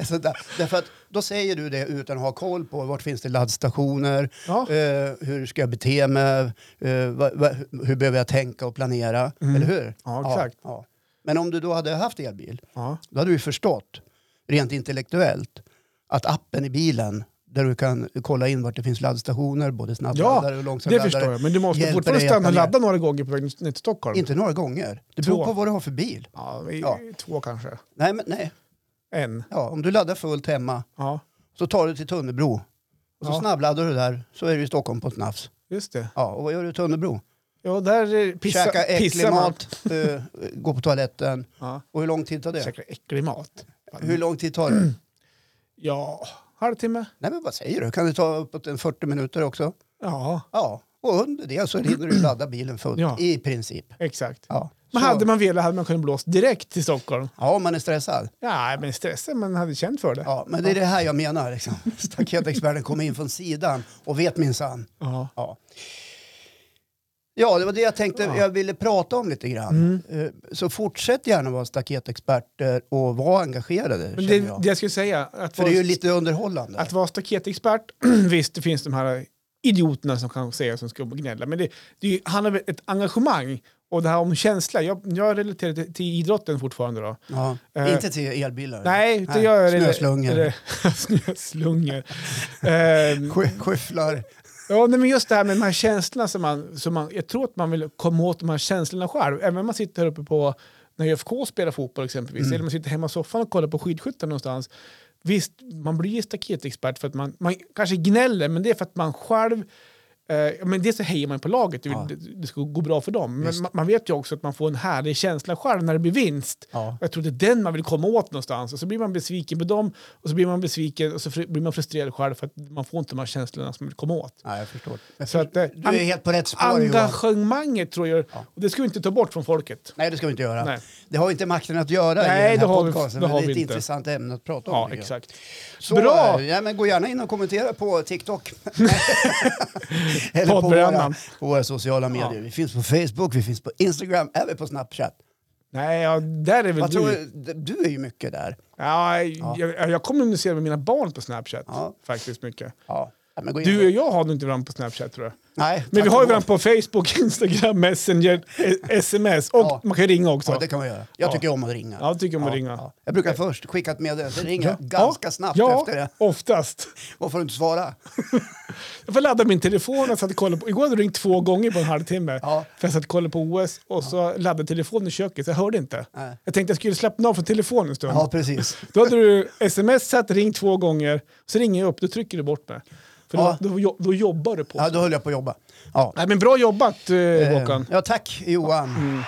B: Så där, därför att då säger du det utan att ha koll på vart finns det laddstationer,
A: Ja.
B: eh, hur ska jag bete mig, eh, va, va, hur behöver jag tänka och planera, eller hur?
A: Ja, exakt.
B: Mm. Ja, ja. Men om du då hade haft elbil,
A: ja.
B: Då hade du ju förstått, rent intellektuellt, att appen i bilen där du kan kolla in vart det finns laddstationer, både snabbladdare och
A: ja det
B: långsamladdare.
A: förstår jag. Men du måste
B: hjälper
A: fortfarande
B: dig att
A: stanna och
B: planera.
A: ladda några gånger på väg ner till Stockholm.
B: Inte några gånger. Det beror
A: Två.
B: på vad du har för bil.
A: Ja, vi,
B: Ja.
A: Två kanske.
B: Nej, men nej.
A: En.
B: Ja, om du laddar fullt hemma
A: Ja,
B: så tar du till Tunnebro. Och så
A: Ja.
B: snabbladdar du där så är du i Stockholm på ett nafs.
A: just det.
B: Ja, och vad gör du i Tunnebro?
A: Ja, där eh, pissa,
B: Käka äcklig
A: pissar man.
B: mat, eh, gå på toaletten.
A: Ja.
B: Och hur lång tid tar det?
A: Käka äcklig mat.
B: Hur lång tid tar det?
A: Ja, halvtimme.
B: Nej, men vad säger du? Kan det ta uppåt en 40 minuter också?
A: Ja,
B: Ja, och under det så hinner du ladda bilen fullt
A: Ja.
B: i princip.
A: exakt.
B: Ja.
A: Men
B: Så-
A: hade man velat hade man kunnat blåst direkt till Stockholm.
B: ja, om man är stressad.
A: Ja, men stressen man hade känt för det.
B: Ja, men det är det här jag menar. Liksom. Staketexperten kommer in från sidan och vet minsann.
A: Ja.
B: Ja. Ja, det var det jag tänkte
A: Ja. Mm.
B: jag ville prata om lite grann. Eh, Så fortsätt gärna vara staketexperter och var engagerade,
A: Men det,
B: känner jag.
A: det jag skulle säga, att
B: För
A: vara,
B: det är ju lite underhållande.
A: att vara staketexpert, visst det finns de här idioterna som kan säga som ska gnälla, men det, det är ju- handlar om ett engagemang och det här om känsla. Jag, jag relaterar till, till idrotten fortfarande då.
B: ja.
A: Eh,
B: Inte till elbilar.
A: Nej, det gör jag.
B: Snöslungor.
A: eller- Snöslungor. Ehm,
B: Sky- Skyfflar.
A: Ja, nej, men just det här med de här känslorna som man, som man... Jag tror att man vill komma åt de här känslorna själv. Även om man sitter här uppe på... När IFK spelar fotboll exempelvis,
B: Mm.
A: eller man sitter hemma i soffan och kollar på skidskyttar någonstans. Visst, man blir staketexpert för att man, man kanske gnäller, men det är för att man själv... Eh, men det så hejar man på laget, det,
B: Ja.
A: det, det ska gå bra för dem. Men
B: Just.
A: man, man vet ju också att man får en härlig känsla själv när det blir vinst.
B: Ja.
A: Och Jag tror det är den man vill komma åt någonstans. Och så blir man besviken på dem och så blir man besviken och så fr- blir man frustrerad själv för att man får inte de här känslorna som man vill komma åt.
B: Nej, jag förstår.
A: Så att, eh,
B: Du är helt på rätt spår Johan.
A: engagemanget tror jag,
B: Ja.
A: och det ska vi inte ta bort från folket.
B: Nej, det ska vi inte göra.
A: Nej.
B: Det har ju inte makten att göra
A: Nej,
B: i den
A: det
B: här
A: har vi-
B: podcasten.
A: det
B: men
A: har
B: det är
A: vi
B: ett
A: inte.
B: intressant ämne att prata om.
A: Ja,
B: tycker jag.
A: exakt.
B: Så,
A: Bra!
B: Bra! Ja, men gå gärna in och kommentera på TikTok. Eller på våra,
A: Poddbrännan.
B: på våra sociala medier.
A: Ja.
B: Vi finns på Facebook, vi finns på Instagram, även på Snapchat.
A: Nej, ja, där är väl
B: Vad
A: du.
B: tror du? Du är ju mycket där.
A: Ja, Jag, jag kommunicerar med mina barn på Snapchat
B: Ja.
A: faktiskt mycket.
B: Ja. Ja, men gå in
A: Du
B: på-
A: och jag har nog inte varandra på Snapchat tror jag.
B: Nej,
A: Men vi
B: tack
A: har ju
B: och lov.
A: varandra på Facebook, Instagram, Messenger, e- sms och
B: Ja.
A: man kan ringa också.
B: Ja, det kan man göra. Jag
A: Ja.
B: tycker om att ringa.
A: Ja, jag tycker om att ringa.
B: Jag brukar först skicka ett meddelande, sen ringer jag ganska snabbt
A: ja,
B: efter det.
A: oftast.
B: Och får du inte svara.
A: Jag får ladda min telefon. Jag satt och kollade på, igår hade jag ringt två gånger på en halvtimme.
B: Ja.
A: För jag satt och kollade på OS och så laddade telefonen i köket så jag hörde inte.
B: Nej.
A: Jag tänkte jag skulle slappna av från telefonen en stund.
B: Ja, precis.
A: Då hade du smsat, ringt två gånger, så ringer jag upp, då trycker du bort mig. För
B: Ja.
A: då, då, jo- då jobbar du på.
B: Ja, då höll jag på att jobba. Ja.
A: Nej, men bra jobbat eh,
B: Eh,
A: Håkan. Mm.
B: Ja, tack Johan.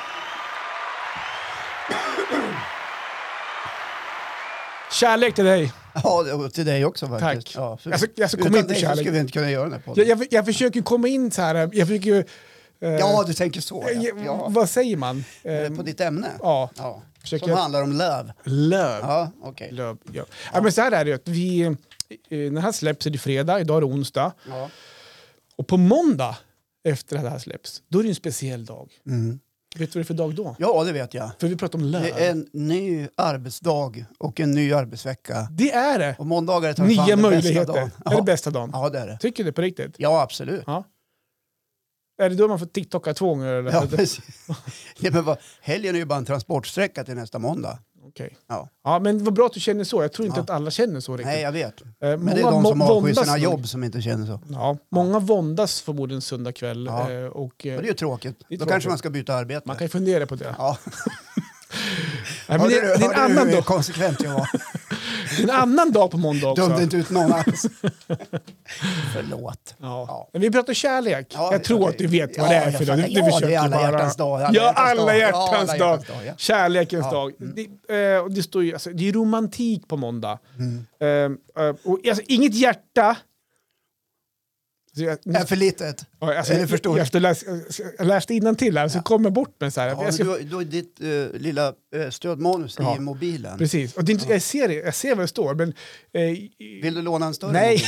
A: Kärlek till dig.
B: Ja, och till dig också faktiskt.
A: Tack.
B: Ja, för,
A: Alltså- alltså, kom
B: utan
A: inte
B: dig så
A: kärlek.
B: skulle vi inte kunna göra den här podden.
A: Jag, jag, jag försöker komma in så här, jag försöker ju... eh,
B: ja, du tänker så. Ja.
A: jag-
B: Ja.
A: Vad säger man?
B: Eh, På ditt ämne?
A: Eh, ja.
B: Ja.
A: Försöker-
B: Som handlar om löv.
A: Love.
B: Ja, okej.
A: Löv, ja. Ja, men så här är det ju. att Vi, eh, när det här släpps är det fredag, idag är det onsdag.
B: Ja.
A: Och på måndag efter att det här släpps, då är det en speciell dag.
B: Mm.
A: Vet du vad det är för dag då?
B: ja, det vet jag.
A: För vi pratar om löv.
B: Det är en ny arbetsdag och en ny arbetsvecka.
A: Det är det!
B: Och måndagar är ta fan
A: Nya
B: den
A: möjligheter.
B: bästa dagen.
A: Är det
B: Ja.
A: bästa dagen?
B: ja, det är det.
A: Tycker du det på riktigt?
B: Ja, absolut.
A: Ja. Är det då man får TikToka två gånger? Eller?
B: Ja, precis. Nej, men vad, helgen är ju bara en transportsträcka till nästa måndag.
A: Okej.
B: Ja.
A: ja, men vad bra att du känner så. Jag tror inte
B: Ja.
A: att alla känner så riktigt.
B: Nej, jag vet.
A: Eh,
B: Men det är
A: många
B: de
A: må-
B: som avskyr
A: våndas
B: sina
A: nog.
B: jobb som inte känner så. Och
A: Ja, många våndas förmodligen söndag kväll.
B: Ja.
A: eh, Och, eh,
B: det är ju
A: är
B: tråkigt. Då
A: tråkigt.
B: kanske man ska byta arbete.
A: man kan ju fundera på det.
B: Ja.
A: Nej, men det,
B: Hörde du-
A: det är
B: hörde
A: en annan
B: du hur
A: dag.
B: konsekvent jag var?
A: Det är en annan dag på måndag
B: Dömde
A: också.
B: inte ut någon alls. Förlåt.
A: Ja.
B: Ja.
A: Men vi pratar kärlek.
B: Ja,
A: jag tror
B: okej.
A: att du vet vad
B: Ja,
A: det är
B: jag
A: för
B: fattar.
A: dag. Du- du
B: Ja, det är
A: försöker
B: alla
A: bara-
B: hjärtans dag,
A: Ja,
B: alla hjärtans
A: alla
B: dag. Ja, alla
A: hjärtans dag.
B: hjärtans dag, ja.
A: Kärlekens
B: Ja. Mm.
A: dag. Det, eh, och det, står ju, alltså, det är romantik på måndag.
B: Mm.
A: Eh, eh, och, alltså, inget hjärta. Så jag, nu,
B: Är Äh, för litet.
A: ja, alltså,
B: eller
A: jag,
B: förstår
A: jag, jag, läste, jag läste innantill här, så kom jag bort med så här.
B: Ja,
A: jag
B: men
A: ska,
B: du, har- du har ditt eh, lilla eh, stödmanus
A: Ja.
B: i mobilen.
A: precis. Och det är inte, jag, ser det, jag ser vad det står, men... Eh, i-
B: Vill du låna en större?
A: nej!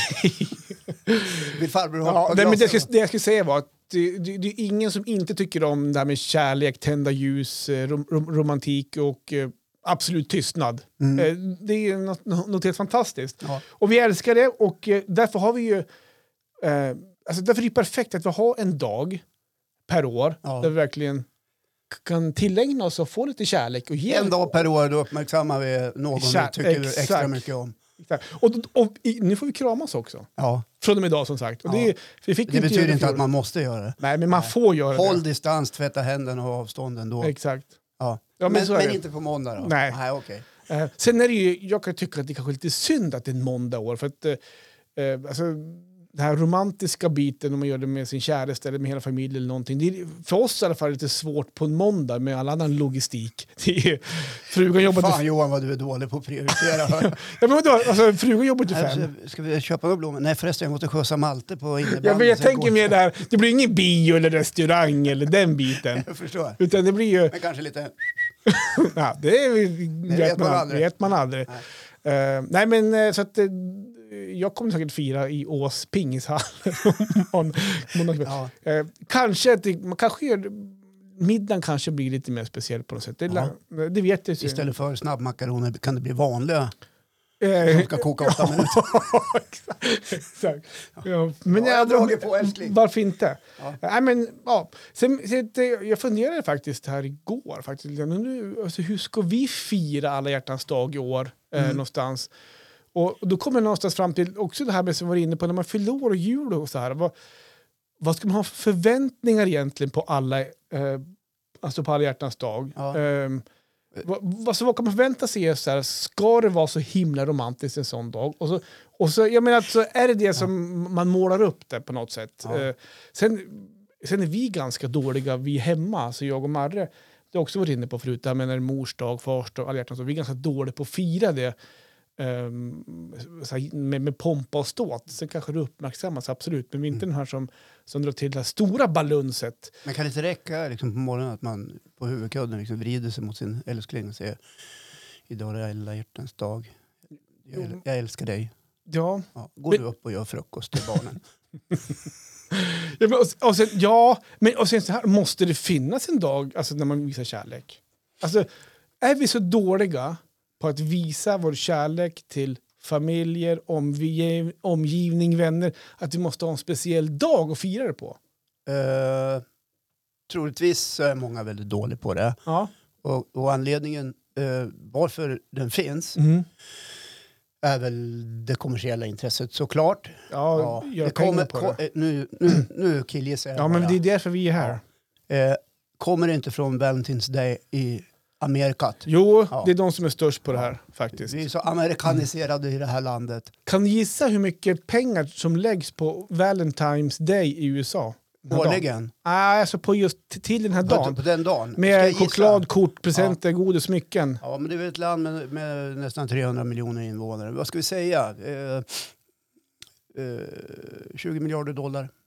B: Vill farbror ha
A: Ja,
B: ett par
A: nej, men det, jag
B: glasögon?
A: skulle, det jag skulle säga var att det, det, det är ingen som inte tycker om det här med kärlek, tända ljus, eh, rom, rom, romantik och eh, absolut tystnad. Eh, det är något, något helt fantastiskt.
B: Mm. Ja.
A: Och vi älskar det och eh, därför har vi ju... Eh, alltså därför är det perfekt att vi har en dag per år
B: Ja.
A: där vi verkligen k- kan tillägna oss och få lite kärlek och ge
B: En dag per år då uppmärksammar vi någon
A: Exakt,
B: vi tycker extra
A: exakt.
B: mycket om.
A: Och, och i, nu får vi kramas också.
B: Ja.
A: Från och med idag som sagt. Och
B: Ja.
A: det, vi fick
B: Det
A: inte göra
B: betyder
A: i
B: inte att
A: fjol.
B: man måste göra det.
A: Nej, men man får göra
B: Håll
A: det.
B: distans, tvätta händerna och avstånd ändå.
A: Exakt.
B: Ja.
A: Ja, men
B: men
A: så är
B: men
A: det.
B: inte på måndag då?
A: Nej.
B: Nej okej.
A: Eh, sen är det ju, jag kan tycka att det kanske är lite synd att det är en måndag i år. För att, eh, eh, alltså, den här romantiska biten, om man gör det med sin käresta eller med hela familjen eller någonting. Det är för oss i alla fall lite svårt på en måndag med all annan logistik. Det är, frugan jobbar
B: Fan
A: till,
B: Johan vad du är dålig på att prioritera. hör.
A: ja, men vadå, alltså, frugan jobbar till fem.
B: Nej, Alltså, Ska vi köpa några blommor? Nej förresten, jag måste skjutsa Malte på innebandyn.
A: Ja, men jag
B: sen
A: tänker
B: går-
A: mer där, det blir ingen bio eller restaurang eller den biten.
B: Jag förstår.
A: Utan det blir ju...
B: Men kanske lite...
A: Ja, det, är, vet,
B: vet
A: man,
B: man
A: aldrig.
B: aldrig.
A: vet man aldrig. Eh, nej, men eh, så att... eh, jag kommer säkert fira i Ås pingishall. om någon-
B: Ja.
A: Eh, kanske, att det, man kanske gör, middagen kanske blir lite mer speciell på något sätt. Det,
B: Ja.
A: la- det vet jag ju.
B: Istället för snabbmakaroner kan det bli vanliga som
A: Eh,
B: ska koka åtta minuter.
A: exakt. Ja. Men
B: Ja, jag har
A: jag-
B: dragit på, älskling.
A: Varför inte?
B: Ja.
A: Nej, men, ja. Sen, sen, det- eh, jag funderade faktiskt här igår, faktiskt, lite grann, nu, alltså, hur ska vi fira alla hjärtans dag i år eh,
B: Mm.
A: någonstans? Och, och då kommer jag någonstans fram till också det här med som vi var inne på, när man fyller år och jul och så här, vad, vad ska man ha för förväntningar egentligen på alla, eh, alltså på alla hjärtans dag?
B: Ja.
A: Ehm, vad, alltså, vad kan man förvänta sig? Så här, ska det vara så himla romantiskt en sån dag? Och så, och så, jag menar, så är det det som man målar upp det på något sätt.
B: Ja.
A: Eh, sen, sen är vi ganska dåliga, vi hemma, alltså jag och Marre. Det har jag också varit inne på förut, det här med när det är mors dag, fars dag, alla hjärtans dag. Vi är ganska dåliga på att fira det ehm, så här, med, med pompa och ståt. Sen kanske det uppmärksammas, absolut. Men vi är inte den här som, som drar till det här stora balunset.
B: Men kan det inte räcka liksom, på morgonen att man på huvudkudden liksom, vrider sig mot sin älskling och säger idag är det alla hjärtans dag. Jag, äl- jag älskar dig.
A: Ja,
B: Ja, går
A: Men-
B: du upp och gör frukost till barnen?
A: ja, men, och, och sen, ja, men och sen så här, måste det finnas en dag alltså, när man visar kärlek? Alltså, är vi så dåliga på att visa vår kärlek till familjer, omgiv, omgivning, vänner, att vi måste ha en speciell dag att fira det på?
B: Eh, troligtvis så är många väldigt dåliga på det.
A: Ja.
B: Och, och anledningen eh, varför den finns
A: Mm.
B: är väl det kommersiella intresset såklart.
A: Ja, göra
B: det
A: pengar
B: kommer,
A: på
B: ko-
A: det.
B: eh, Nu, nu, nu killgissar jag
A: Ja, men
B: bara.
A: det är därför vi är här.
B: Eh, kommer det inte från Valentine's Day i Amerikat?
A: Jo,
B: Ja.
A: det är de som är störst på det här faktiskt.
B: Vi är så amerikaniserade i det här landet.
A: Kan ni gissa hur mycket pengar som läggs på Valentine's Day i USA? Den här dagen?
B: Årligen.
A: Nej, alltså på just t- till den här
B: På,
A: dagen.
B: på den dagen. Ska jag
A: Med
B: gissa?
A: choklad, kort, presenter, godis, smycken.
B: Ja, men det är väl ett land med, med nästan 300 miljoner invånare. Vad ska vi säga? Eh, eh, 20 miljarder dollar.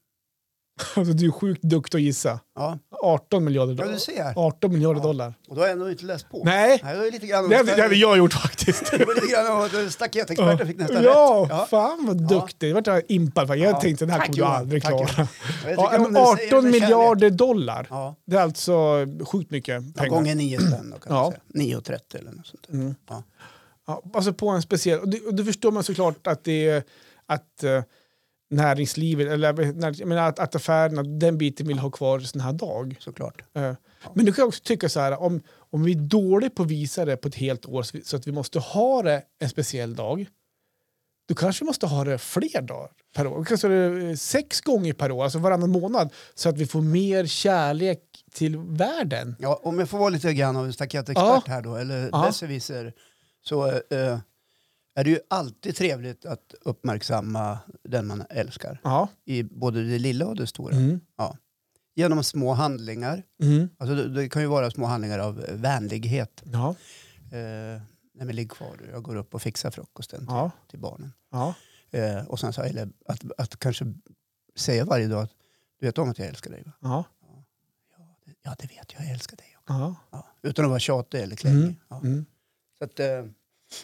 A: Alltså, du är sjukt duktig att gissa.
B: Ja,
A: 18 miljarder
B: ja du
A: dollar.
B: ser.
A: 18 miljarder
B: Ja.
A: dollar.
B: Och då har jag ändå inte läst på.
A: Nej,
B: Nej, det var lite grann
A: det hade det hade jag gjort faktiskt.
B: det var lite grann av att staketexperten fick nästan
A: Ja,
B: rätt. Ja.
A: fan vad
B: Ja.
A: duktig. Det vart jag impad. Jag
B: Ja.
A: tänkte det här
B: Tack,
A: kommer du
B: Johan.
A: aldrig
B: Tack,
A: klara.
B: Jag vet
A: Ja,
B: inte om
A: men
B: du säger det
A: 18
B: med kärlek.
A: miljarder dollar.
B: Ja,
A: Det är alltså sjukt mycket
B: ja,
A: pengar.
B: gånger 9 spänn då kan
A: Ja.
B: man säga. 9,30 eller något sånt där.
A: Mm.
B: Ja.
A: Ja, alltså på en speciell... Och det, och det förstår man såklart att det är att eh, näringslivet, eller när, jag menar, att, att affärerna, den biten vill ha kvar sån här dag.
B: Såklart.
A: Eh, Men du kan jag också tycka så här, om, om vi är dåliga på att visa det på ett helt år så vi- så att vi måste ha det en speciell dag, då kanske vi måste ha det fler dagar per år. Kanske det eh, sex gånger per år, alltså varannan månad, så att vi får mer kärlek till världen.
B: Ja, om jag får vara lite grann av en staketexpert här då, eller
A: Ja.
B: besserwisser, så eh, är det ju alltid trevligt att uppmärksamma den man älskar.
A: Ja.
B: I både det lilla och det stora.
A: Mm.
B: Genom små handlingar.
A: Mm.
B: Alltså det, det kan ju vara små handlingar av eh, vänlighet.
A: Ja.
B: Eh, nej men ligg kvar du, jag går upp och fixar frukosten
A: Ja.
B: till barnen.
A: Ja.
B: Eh, och sen så, eller att, att kanske säga varje dag att du vet om att jag älskar dig va?
A: Ja.
B: Ja det vet jag, jag älskar dig.
A: Ja.
B: Ja. Utan att vara tjatig eller klängig.
A: Mm.
B: Ja.
A: Mm.
B: Så att, eh,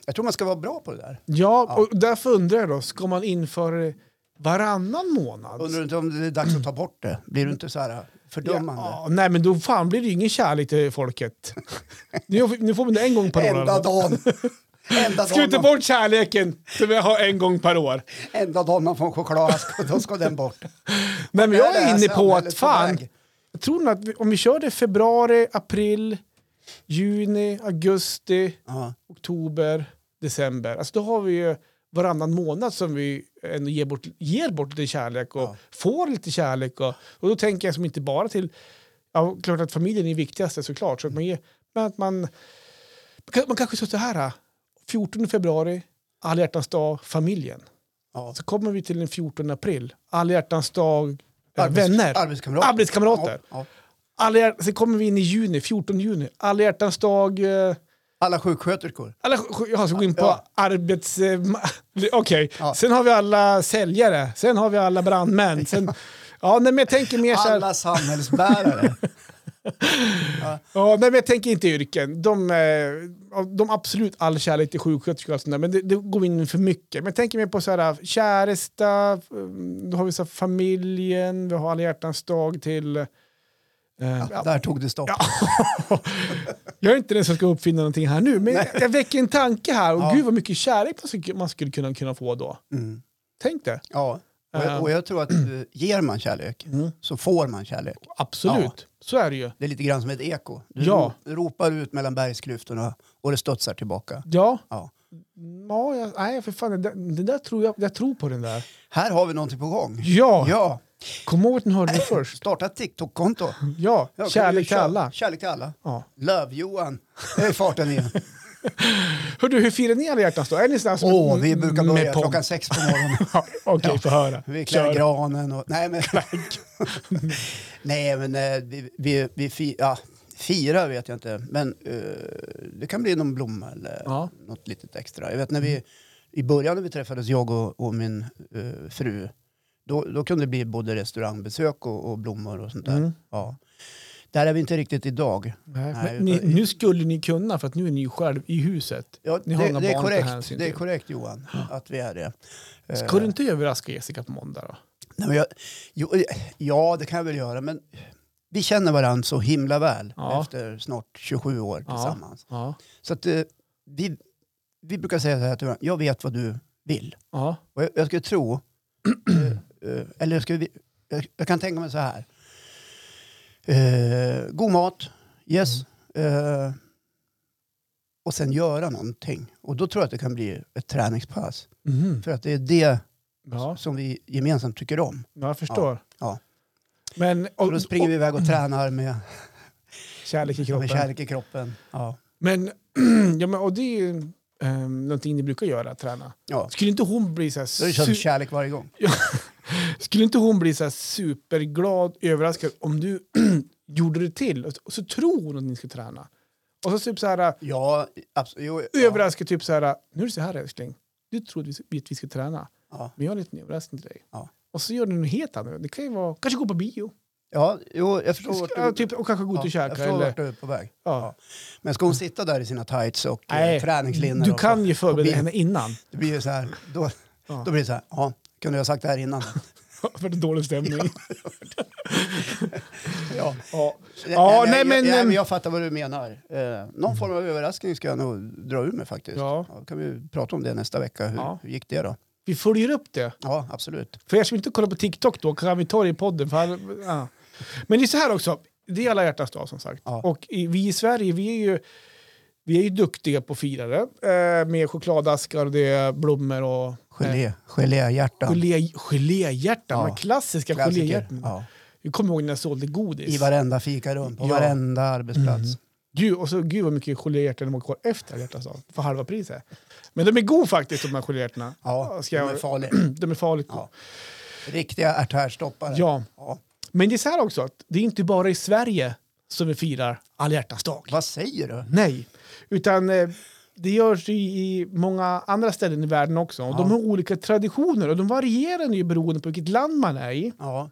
B: jag tror man ska vara bra på det där.
A: Ja,
B: Ja.
A: och därför undrar jag då, ska man införa det varannan månad?
B: Undrar du inte om det är dags att ta bort det? Blir du inte så här eh, fördömande?
A: Ja, nej, men då fan blir det ju ingen kärlek till folket. nu, nu får man det en gång per år. i alla
B: Enda
A: fall.
B: dagen. Enda
A: Ska vi inte
B: dagen, man,
A: bort kärleken som vi har en gång per år?
B: enda dagen man får en chokladask, då ska den bort.
A: Nej, men jag
B: Där det
A: är
B: här
A: inne på
B: samhället
A: att fan,
B: väg.
A: jag tror nog att vi, om vi kör det februari, april, juni, augusti,
B: Ja,
A: oktober, december. Alltså då har vi ju varannan månad som vi ändå ger bort, ger bort lite kärlek och
B: Ja.
A: får lite kärlek. Och, och då tänker jag som inte bara till, ja klart att familjen är viktigaste såklart, så att man ger, men att man, man kanske så så här, 14 februari, alla hjärtans dag, familjen.
B: ja.
A: Så kommer vi till den 14 april, alla hjärtans dag, eh,
B: Arbets-
A: vänner,
B: Arbetskamrater.
A: arbetskamrater.
B: Ja, ja.
A: Alla, hjär- sen kommer vi in i juni, 14 juni, alla hjärtans dag, eh,
B: Alla sjuksköterskor.
A: alla, sj- jag ska gå in på
B: Ja.
A: arbets... eh, ma- Okej,
B: Ja.
A: sen har vi alla säljare, sen har vi alla brandmän. Sen, ja, nej, men jag tänker mer så här,
B: Alla samhällsbärare.
A: Ja, nej, men jag tänker inte yrken. De, eh, de har absolut all kärlek till sjuksköterskor och sånt där, men det, det går in för mycket. Men jag tänker mer på så här, eh, käresta, mm, då har vi så här, familjen, vi har alla hjärtans dag till... eh, ja.
B: Där tog det stopp.
A: Ja. Jag är inte den som ska uppfinna någonting här nu, men jag, jag väcker en tanke här. Och
B: Ja.
A: gud vad mycket kärlek man skulle, man skulle kunna, kunna få då.
B: Mm.
A: Tänk det.
B: ja. Och, jag, och jag tror att eh, ger man kärlek
A: Mm.
B: så får man kärlek.
A: Absolut, så är det ju.
B: Det är lite grann som ett eko. Du
A: Ja.
B: ro- ropar ut mellan bergsklyftorna och det studsar tillbaka.
A: Ja,
B: Ja.
A: ja jag, nej för fan, det, där- det där tror jag, jag tror på den där.
B: Här har vi någonting på gång.
A: Ja,
B: Ja,
A: kom ihåg att ni hörde det först.
B: starta ett TikTok-konto.
A: Ja,
B: Ja, kan du
A: kärlek till
B: köra?
A: alla.
B: Kärlek till alla.
A: Ja.
B: Löv-Johan. Nu är farten igen.
A: Hör du, hur firar ni alla hjärtans dag? Är ni sådana som-
B: Åh, vi brukar
A: med
B: börja
A: pomp?
B: klockan sex på morgonen.
A: Ja, Okej, få höra.
B: Vi klär
A: Kör.
B: granen och... Nej, men... Nej, men eh, vi, vi, vi fi, ja, firar vet jag inte. Men eh, det kan bli någon blomma eller
A: Ja.
B: något litet extra. Jag vet när vi... I början när vi träffades, jag och, och min eh, fru, då, då kunde det bli både restaurangbesök och, och blommor och sånt där.
A: Mm.
B: Ja. Där är vi inte riktigt idag.
A: Nej,
B: Nej,
A: men ni, nu skulle ni kunna för att nu är ni ju själv i huset.
B: Ja,
A: Ni har
B: det,
A: inga
B: det, är
A: barn att ta
B: korrekt,
A: hänsyn
B: det är
A: till.
B: korrekt Johan, att vi är det. Eh,
A: Ska du inte överraska Jessica på måndag då?
B: nej, men jag, jo, eh, ja, det kan jag väl göra, men vi känner varandra så himla väl
A: Ja.
B: efter snart 27 år
A: Ja.
B: tillsammans.
A: Ja.
B: Så att, eh, vi, vi brukar säga så här till varandra, jag vet vad du vill.
A: ja.
B: Och jag, jag skulle tro, eh, eh, eller jag, skulle, vi- jag, jag kan tänka mig så här. Eh, god mat, yes.
A: Mm.
B: Eh, och sen göra någonting. Och då tror jag att det kan bli ett träningspass.
A: Mhm.
B: För att det är det
A: ja.
B: som vi gemensamt tycker om.
A: Ja, jag förstår.
B: Ja.
A: Men och,
B: Och då springer vi iväg och tränar med,
A: och, kärlek i kroppen.
B: med kärlek i kroppen. Ja.
A: Men, ja, men och det är ju um, någonting ni brukar göra, träna.
B: Ja.
A: Skulle inte hon bli så här
B: Då kör vi
A: su-
B: kärlek varje gång.
A: skulle inte hon bli så här superglad, överraskad om du gjorde det till? Och så- Och så tror hon att ni ska träna. Och så typ så här,
B: Ja, absolut. Jo, ja.
A: överraskad, typ så här, nu är det så här älskling, du trodde vi- vi att vi ska träna,
B: Ja.
A: men jag har en liten överraskning till dig.
B: Ja.
A: Och så gör du något helt annat. Det kan ju vara, kanske gå på bio,
B: Ja, jo, jag förstår vart du,
A: ja, typ, och kanske gå ut
B: ja,
A: och
B: jag
A: käka.
B: förstår
A: Eller,
B: vart du är på väg.
A: ja.
B: Men ska hon sitta där i sina tights och
A: Nej,
B: Nej, träningslinnor?
A: Du
B: och-
A: kan ju
B: och
A: förbereda
B: bil-
A: henne innan.
B: Det blir ju så här, då,
A: Ja.
B: då blir det så här, ja, kunde jag ha sagt det här innan?
A: För det är dålig stämning.
B: ja.
A: Ja.
B: jag-
A: nej,
B: jag,
A: men,
B: jag,
A: ehm,
B: jag fattar vad du menar. Eh, någon form av överraskning ska jag nog dra ur mig faktiskt.
A: Ja.
B: då kan vi prata om det nästa vecka. Hur,
A: Ja.
B: hur gick det då?
A: Vi följer upp det.
B: Ja, absolut.
A: För er som inte kollar på TikTok då kan vi ta det i podden. För här, ja. Men det är så här också, det är alla hjärtans dag som sagt.
B: Ja.
A: Och i, vi i Sverige, vi är ju, vi är ju duktiga på att fira det. Eh, med chokladaskar och det är blommor och eh,
B: Gelé, geléhjärtan.
A: gelé, geléhjärtan.
B: Ja.
A: De här klassiska
B: Klassiker.
A: geléhjärtan.
B: Ja.
A: Jag kommer ihåg när jag sålde godis.
B: I varenda fikarum, på
A: Ja. Mm.
B: varenda arbetsplats.
A: Gud, och så, gud vad mycket geléhjärtan de har kvar efter alla hjärtans dag. För halva priset. Men de är goda faktiskt de här geléhjärtorna.
B: Ja,
A: Ska
B: de är
A: jag,
B: farliga.
A: de är farligt goda.
B: Ja. Riktiga ärtärstoppare.
A: Ja.
B: Ja.
A: Men det är så här också, att det är inte bara i Sverige som vi firar alla hjärtans dag.
B: Vad säger du?
A: Nej, utan eh, det görs ju i många andra ställen i världen också. Och De har olika traditioner och de varierar ju beroende på vilket land man är i.
B: Ja.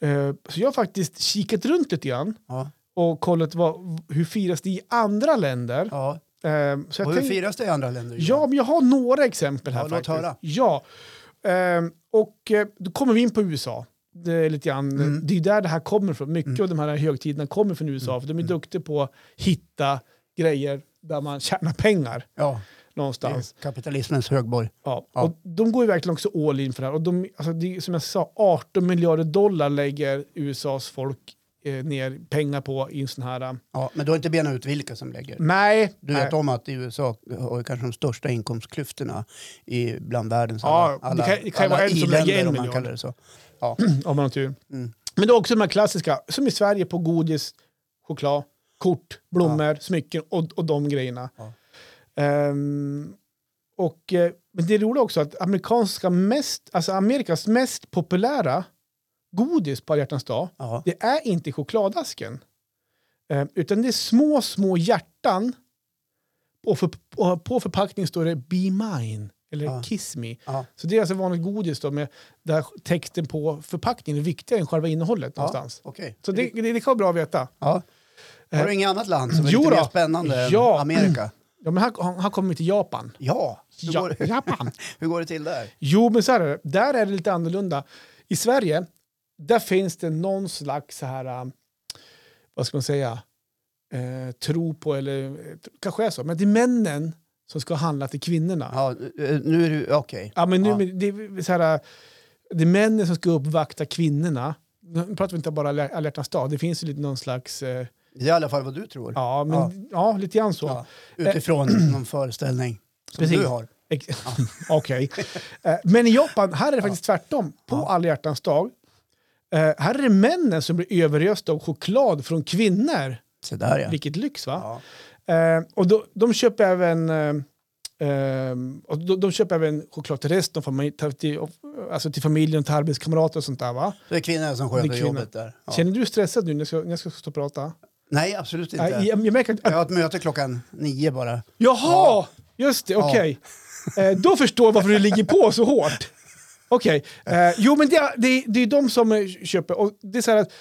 A: Eh, så jag har faktiskt kikat runt lite grann
B: Ja.
A: och kollat vad, hur firas det i andra länder.
B: ja.
A: Eh, så jag
B: Och hur
A: tänkte-
B: firas det i andra länder?
A: Ja, men jag har några exempel här
B: Ja, låt
A: faktiskt.
B: höra.
A: Ja, Ehm, och eh, då kommer vi in på USA. Det är, lite grann,
B: Mm.
A: det är där det här kommer från. Mycket av de här högtiderna kommer från USA, för
B: Mm.
A: de är duktiga på att hitta grejer där man tjänar pengar
B: ja. Det
A: någonstans.
B: är kapitalismens högborg.
A: Ja.
B: Ja.
A: Och de går ju verkligen också all in för det här. Och de, alltså det, är som jag sa, 18 miljarder dollar lägger USAs folk eh, ner pengar på i en sån här... eh,
B: Ja, men du har inte benat ut vilka som lägger.
A: Nej,
B: Du
A: nej.
B: vet om att i USA har ju kanske de största inkomstklyftorna i, bland världens
A: Ja,
B: alla, alla,
A: det kan- det kan ju
B: alla
A: vara en som
B: i-länder,
A: lägger en
B: om man
A: miljard.
B: kallar det så. Ja.
A: om man har tur.
B: Mm.
A: Men det är också de här klassiska, som i Sverige på godis, choklad, kort, blommor, smycken och, och de grejerna.
B: Ja.
A: Ehm, och, eh, men det är roligt också att amerikanska mest, alltså Amerikas mest populära godis på Alla hjärtans dag,
B: Ja.
A: det är inte chokladasken. Ehm, utan det är små, små hjärtan. Och för, och på förpackningen står det Be Mine. eller
B: Ja.
A: Kiss Me.
B: Ja.
A: Så det är alltså vanligt godis då med där texten på förpackningen är viktigare än själva innehållet någonstans.
B: Ja, okej.
A: Så det, det, det kan vara bra att veta.
B: Ja. Har du
A: Eh,
B: inget annat land som är
A: jo
B: lite mer
A: då.
B: spännande
A: Ja.
B: än Amerika?
A: Ja, men han, han, han kommer till Japan.
B: Ja, hur,
A: Ja,
B: Går, det-
A: Japan.
B: hur går det till där?
A: Jo, men så här är det. Där är det lite annorlunda. I Sverige, där finns det någon slags så här, eh, vad ska man säga, eh, tro på, eller eh, kanske är så, men det är männen som ska handla till kvinnorna. Ja,
B: Ja, eh, nu är du, okej.
A: men nu,
B: Ja.
A: men Det, är så här, eh, det är männen som ska uppvakta kvinnorna. Nu pratar vi inte bara Alla alla hjärtans dag, det finns ju lite någon slags, eh,
B: Det är i alla fall vad du tror.
A: ja, men,
B: Ja.
A: ja. lite grann så. Eh.
B: Ja, Utifrån någon föreställning som
A: Precis.
B: du har.
A: Ex- Okej. Eh, Men i Japan, här är det faktiskt tvärtom. På
B: Ja.
A: alla hjärtans dag, eh, här är det männen som blir överösta av choklad från kvinnor.
B: Så där ja.
A: Vilket lyx va?
B: ja.
A: Eh, och då, de köper även eh, eh, och de, de köper även choklad till resten av familj, till, alltså till familjen, till arbetskamrater och sånt där va?
B: Så det är kvinnan som sköter
A: Det är kvinnan.
B: jobbet där. Ja.
A: Känner du dig stressad nu när jag ska, när jag ska stå och prata?
B: Nej, absolut inte.
A: Nej, jag, jag märker att,
B: Jag har ett möte klockan nio bara.
A: Jaha!
B: Ja.
A: Just det,
B: Ja.
A: okej. Eh, då förstår jag varför du ligger på så hårt. Okej. Eh, jo, men det, är- det, är- det är de som eh, köper. Och det är så här att,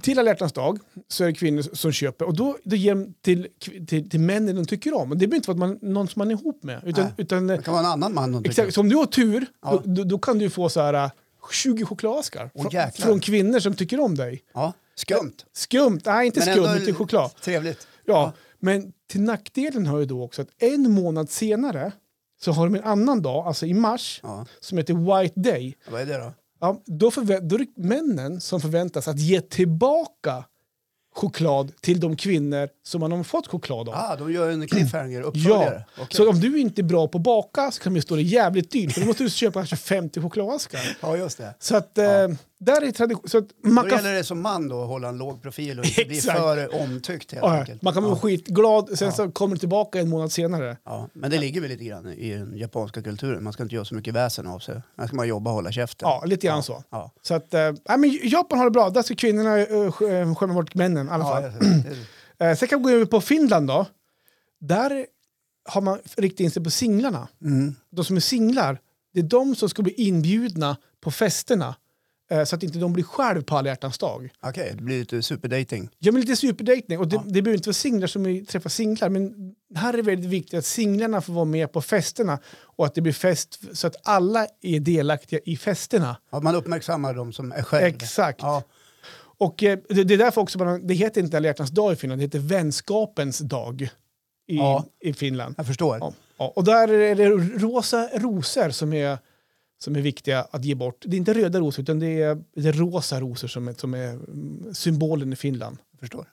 A: till alla hjärtans dag så är det kvinnor som köper och då, då ger de till, kv- till, till männen de tycker om. Och det behöver inte vara att man, någon som man är ihop med. Utan,
B: Nej.
A: utan, eh,
B: Det kan vara en annan man hon tycker.
A: exakt, så om du har tur,
B: Ja.
A: då, då, då kan du få så här, eh, 20 chokladaskar
B: Åh,
A: från,
B: jäklar.
A: från kvinnor som tycker om dig.
B: Ja, skumt.
A: Skumt, nej inte skumt, utan choklad.
B: trevligt.
A: Ja, men till nackdelen har ju då också att en månad senare så har de en annan dag, alltså i mars,
B: Ja.
A: som heter White Day.
B: Vad är det då?
A: Ja, då, förvä- då är det männen som förväntas att ge tillbaka choklad till de kvinnor som man har fått choklad av.
B: Ah, de gör en cliffhanger,
A: Ja,
B: uppföljare. Okej.
A: så om du inte är bra på att baka så kan det stå det jävligt dyrt för då måste du köpa kanske 50 chokladaskar.
B: Ja, just det.
A: Så att,
B: Ja.
A: eh, där är tradition. Så att
B: Då
A: man kan,
B: gäller det som man då att hålla en låg profil och inte bli
A: Exakt.
B: för omtyckt helt
A: ja,
B: enkelt.
A: man kan vara
B: ja.
A: skitglad, sen
B: Ja.
A: så kommer det tillbaka en månad senare.
B: Ja, men det ligger väl lite grann i den japanska kulturen. Man ska inte göra så mycket väsen av sig. Man ska bara jobba och hålla käften.
A: Ja, lite grann så.
B: Ja.
A: Så att, eh, nej, men Japan har det bra. Där ska kvinnorna eh, sk- eh, skämma bort männen i alla fall.
B: Ja, det- det-
A: Eh, sen kan vi gå över på Finland då. Där har man riktat in sig på singlarna.
B: Mm.
A: De som är singlar, det är de som ska bli inbjudna på festerna. Eh, så att inte de blir själv på alla hjärtans dag.
B: Okej, det blir lite superdating.
A: Ja, men lite superdejtning. Och det,
B: Ja.
A: det behöver inte vara singlar som är- träffar singlar, men här är det väldigt viktigt att singlarna får vara med på festerna och att det blir fest så att alla är delaktiga i festerna.
B: Ja, man uppmärksammar de som är själv.
A: Exakt.
B: Ja,
A: Och eh, det, det är därför också man, det heter inte alla hjärtans dag i Finland, det heter vänskapens dag i,
B: Ja.
A: i Finland.
B: jag förstår.
A: Ja. Ja. Och där är det rosa rosor som är, som är viktiga att ge bort. Det är inte röda rosor, utan det är, det är rosa rosor som är, som är mm, symbolen i Finland.
B: Jag förstår.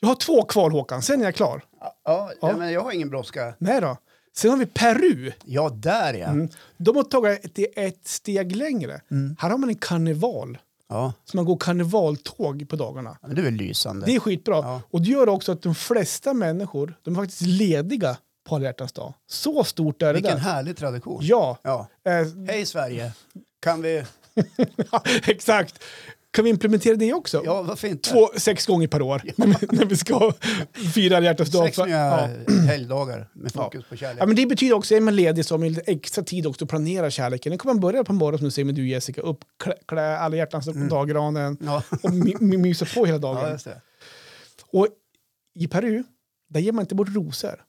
A: Jag har två kvar Håkan, sen är jag klar.
B: Ja, ja,
A: Ja.
B: men jag har ingen brådska.
A: Nej då. Sen har vi Peru.
B: Ja, där ja.
A: Mm. De har tagit det ett steg längre. Här har man en karneval.
B: Ja,
A: Så man går karnevaltåg på dagarna.
B: men det är väl lysande.
A: Det är skitbra.
B: Ja.
A: Och det gör också att de flesta människor, de är faktiskt lediga på alla hjärtans dag. Så stort är det
B: Vilken
A: där.
B: härlig tradition.
A: Ja,
B: Ja.
A: eh,
B: Hej Sverige, kan vi...
A: exakt. Kan vi implementera det också?
B: Ja, varför inte?
A: Två, sex gånger per år när, vi, när vi ska fira alla hjärtans dag.
B: Sex
A: För-
B: nya
A: ja.
B: helgdagar med fokus på kärlek.
A: Ja, men det betyder också, är man ledig så har man lite extra tid också att planera kärleken. Nu kan man börja på morgonen som du säger med du Jessica, upp, klä, klä alla hjärtans dag på daggranen
B: Mm. Ja.
A: och my, my, mysa på hela dagen.
B: ja, just det.
A: Och i Peru, där ger man inte bort rosor.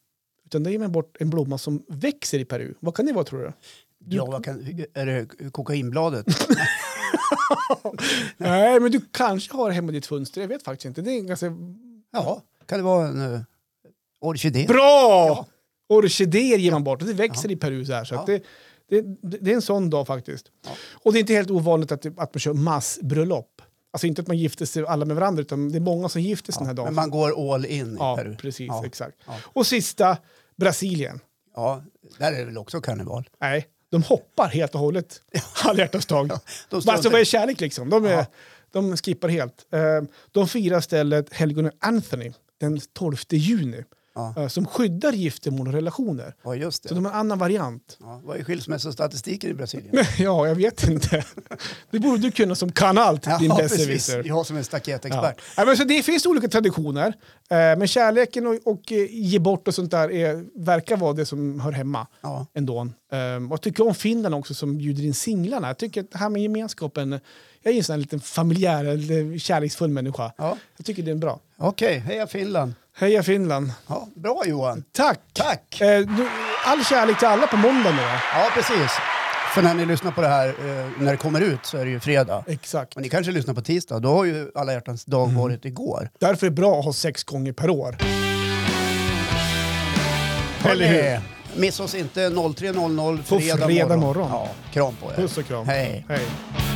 A: Utan där ger man bort en blomma som växer i Peru. Vad kan det vara tror du?
B: Ja, vad kan, är det kokainbladet?
A: Nej, men du kanske har hemma i ditt fönster. Jag vet faktiskt inte. Det är en ganska...
B: Ja, kan det vara en eh, orkidé?
A: Bra! Orkidéer ger man bort och det växer i Peru så här. Så att
B: Ja.
A: det, det, det det är en sån dag faktiskt. Och det är inte helt ovanligt att, att man kör massbröllop. Alltså inte att man gifter sig alla med varandra, utan det är många som gifter sig den här dagen.
B: Men man går all in
A: ja,
B: i Peru.
A: precis.
B: Ja.
A: Exakt.
B: Ja.
A: Och sista, Brasilien.
B: Ja, där är det väl också karneval.
A: Nej, de hoppar helt och hållet. Alla hjärtans dag.
B: De
A: Alltså
B: struntar-
A: vad är kärlek liksom? De, är,
B: Ja.
A: de Ehm, skippar helt. Eh, De firar stället helgonen Anthony den 12 juni.
B: Ja.
A: eh, som skyddar giftermål och relationer.
B: Ja, just
A: Så
B: det.
A: de har en annan variant.
B: Ja, vad är skilsmässostatistiken i Brasilien?
A: Ja, jag vet inte. Det borde du kunna som kan allt, din besserwisser.
B: Jag som är staketexpert.
A: Ja. Ja, men så det finns olika traditioner, eh, men kärleken och, och eh, ge bort och sånt där är, verkar vara det som hör hemma
B: Ja.
A: ändå. Ehm, och jag tycker om Finland också som bjuder in singlarna. Jag tycker att det här med gemenskapen, eh, jag är en sån här liten familjär, eller kärleksfull människa.
B: Ja.
A: Jag tycker det är bra.
B: Okej, heja Finland.
A: Heja Finland!
B: Ja, bra Johan.
A: Tack!
B: Tack!
A: Eh, du, all kärlek till alla på måndag nu. va?
B: Ja, precis. För när ni lyssnar på det här, eh, när det kommer ut så är det ju fredag.
A: Exakt.
B: Men ni kanske lyssnar på tisdag, då har ju alla hjärtans dag
A: Mm.
B: varit igår.
A: Därför är det bra att ha sex gånger per år. Eller hur?
B: Missa oss inte 03.00 fredag,
A: fredag
B: morgon.
A: morgon.
B: Ja, kram på er.
A: Puss och kram.
B: Hej.
A: Hej.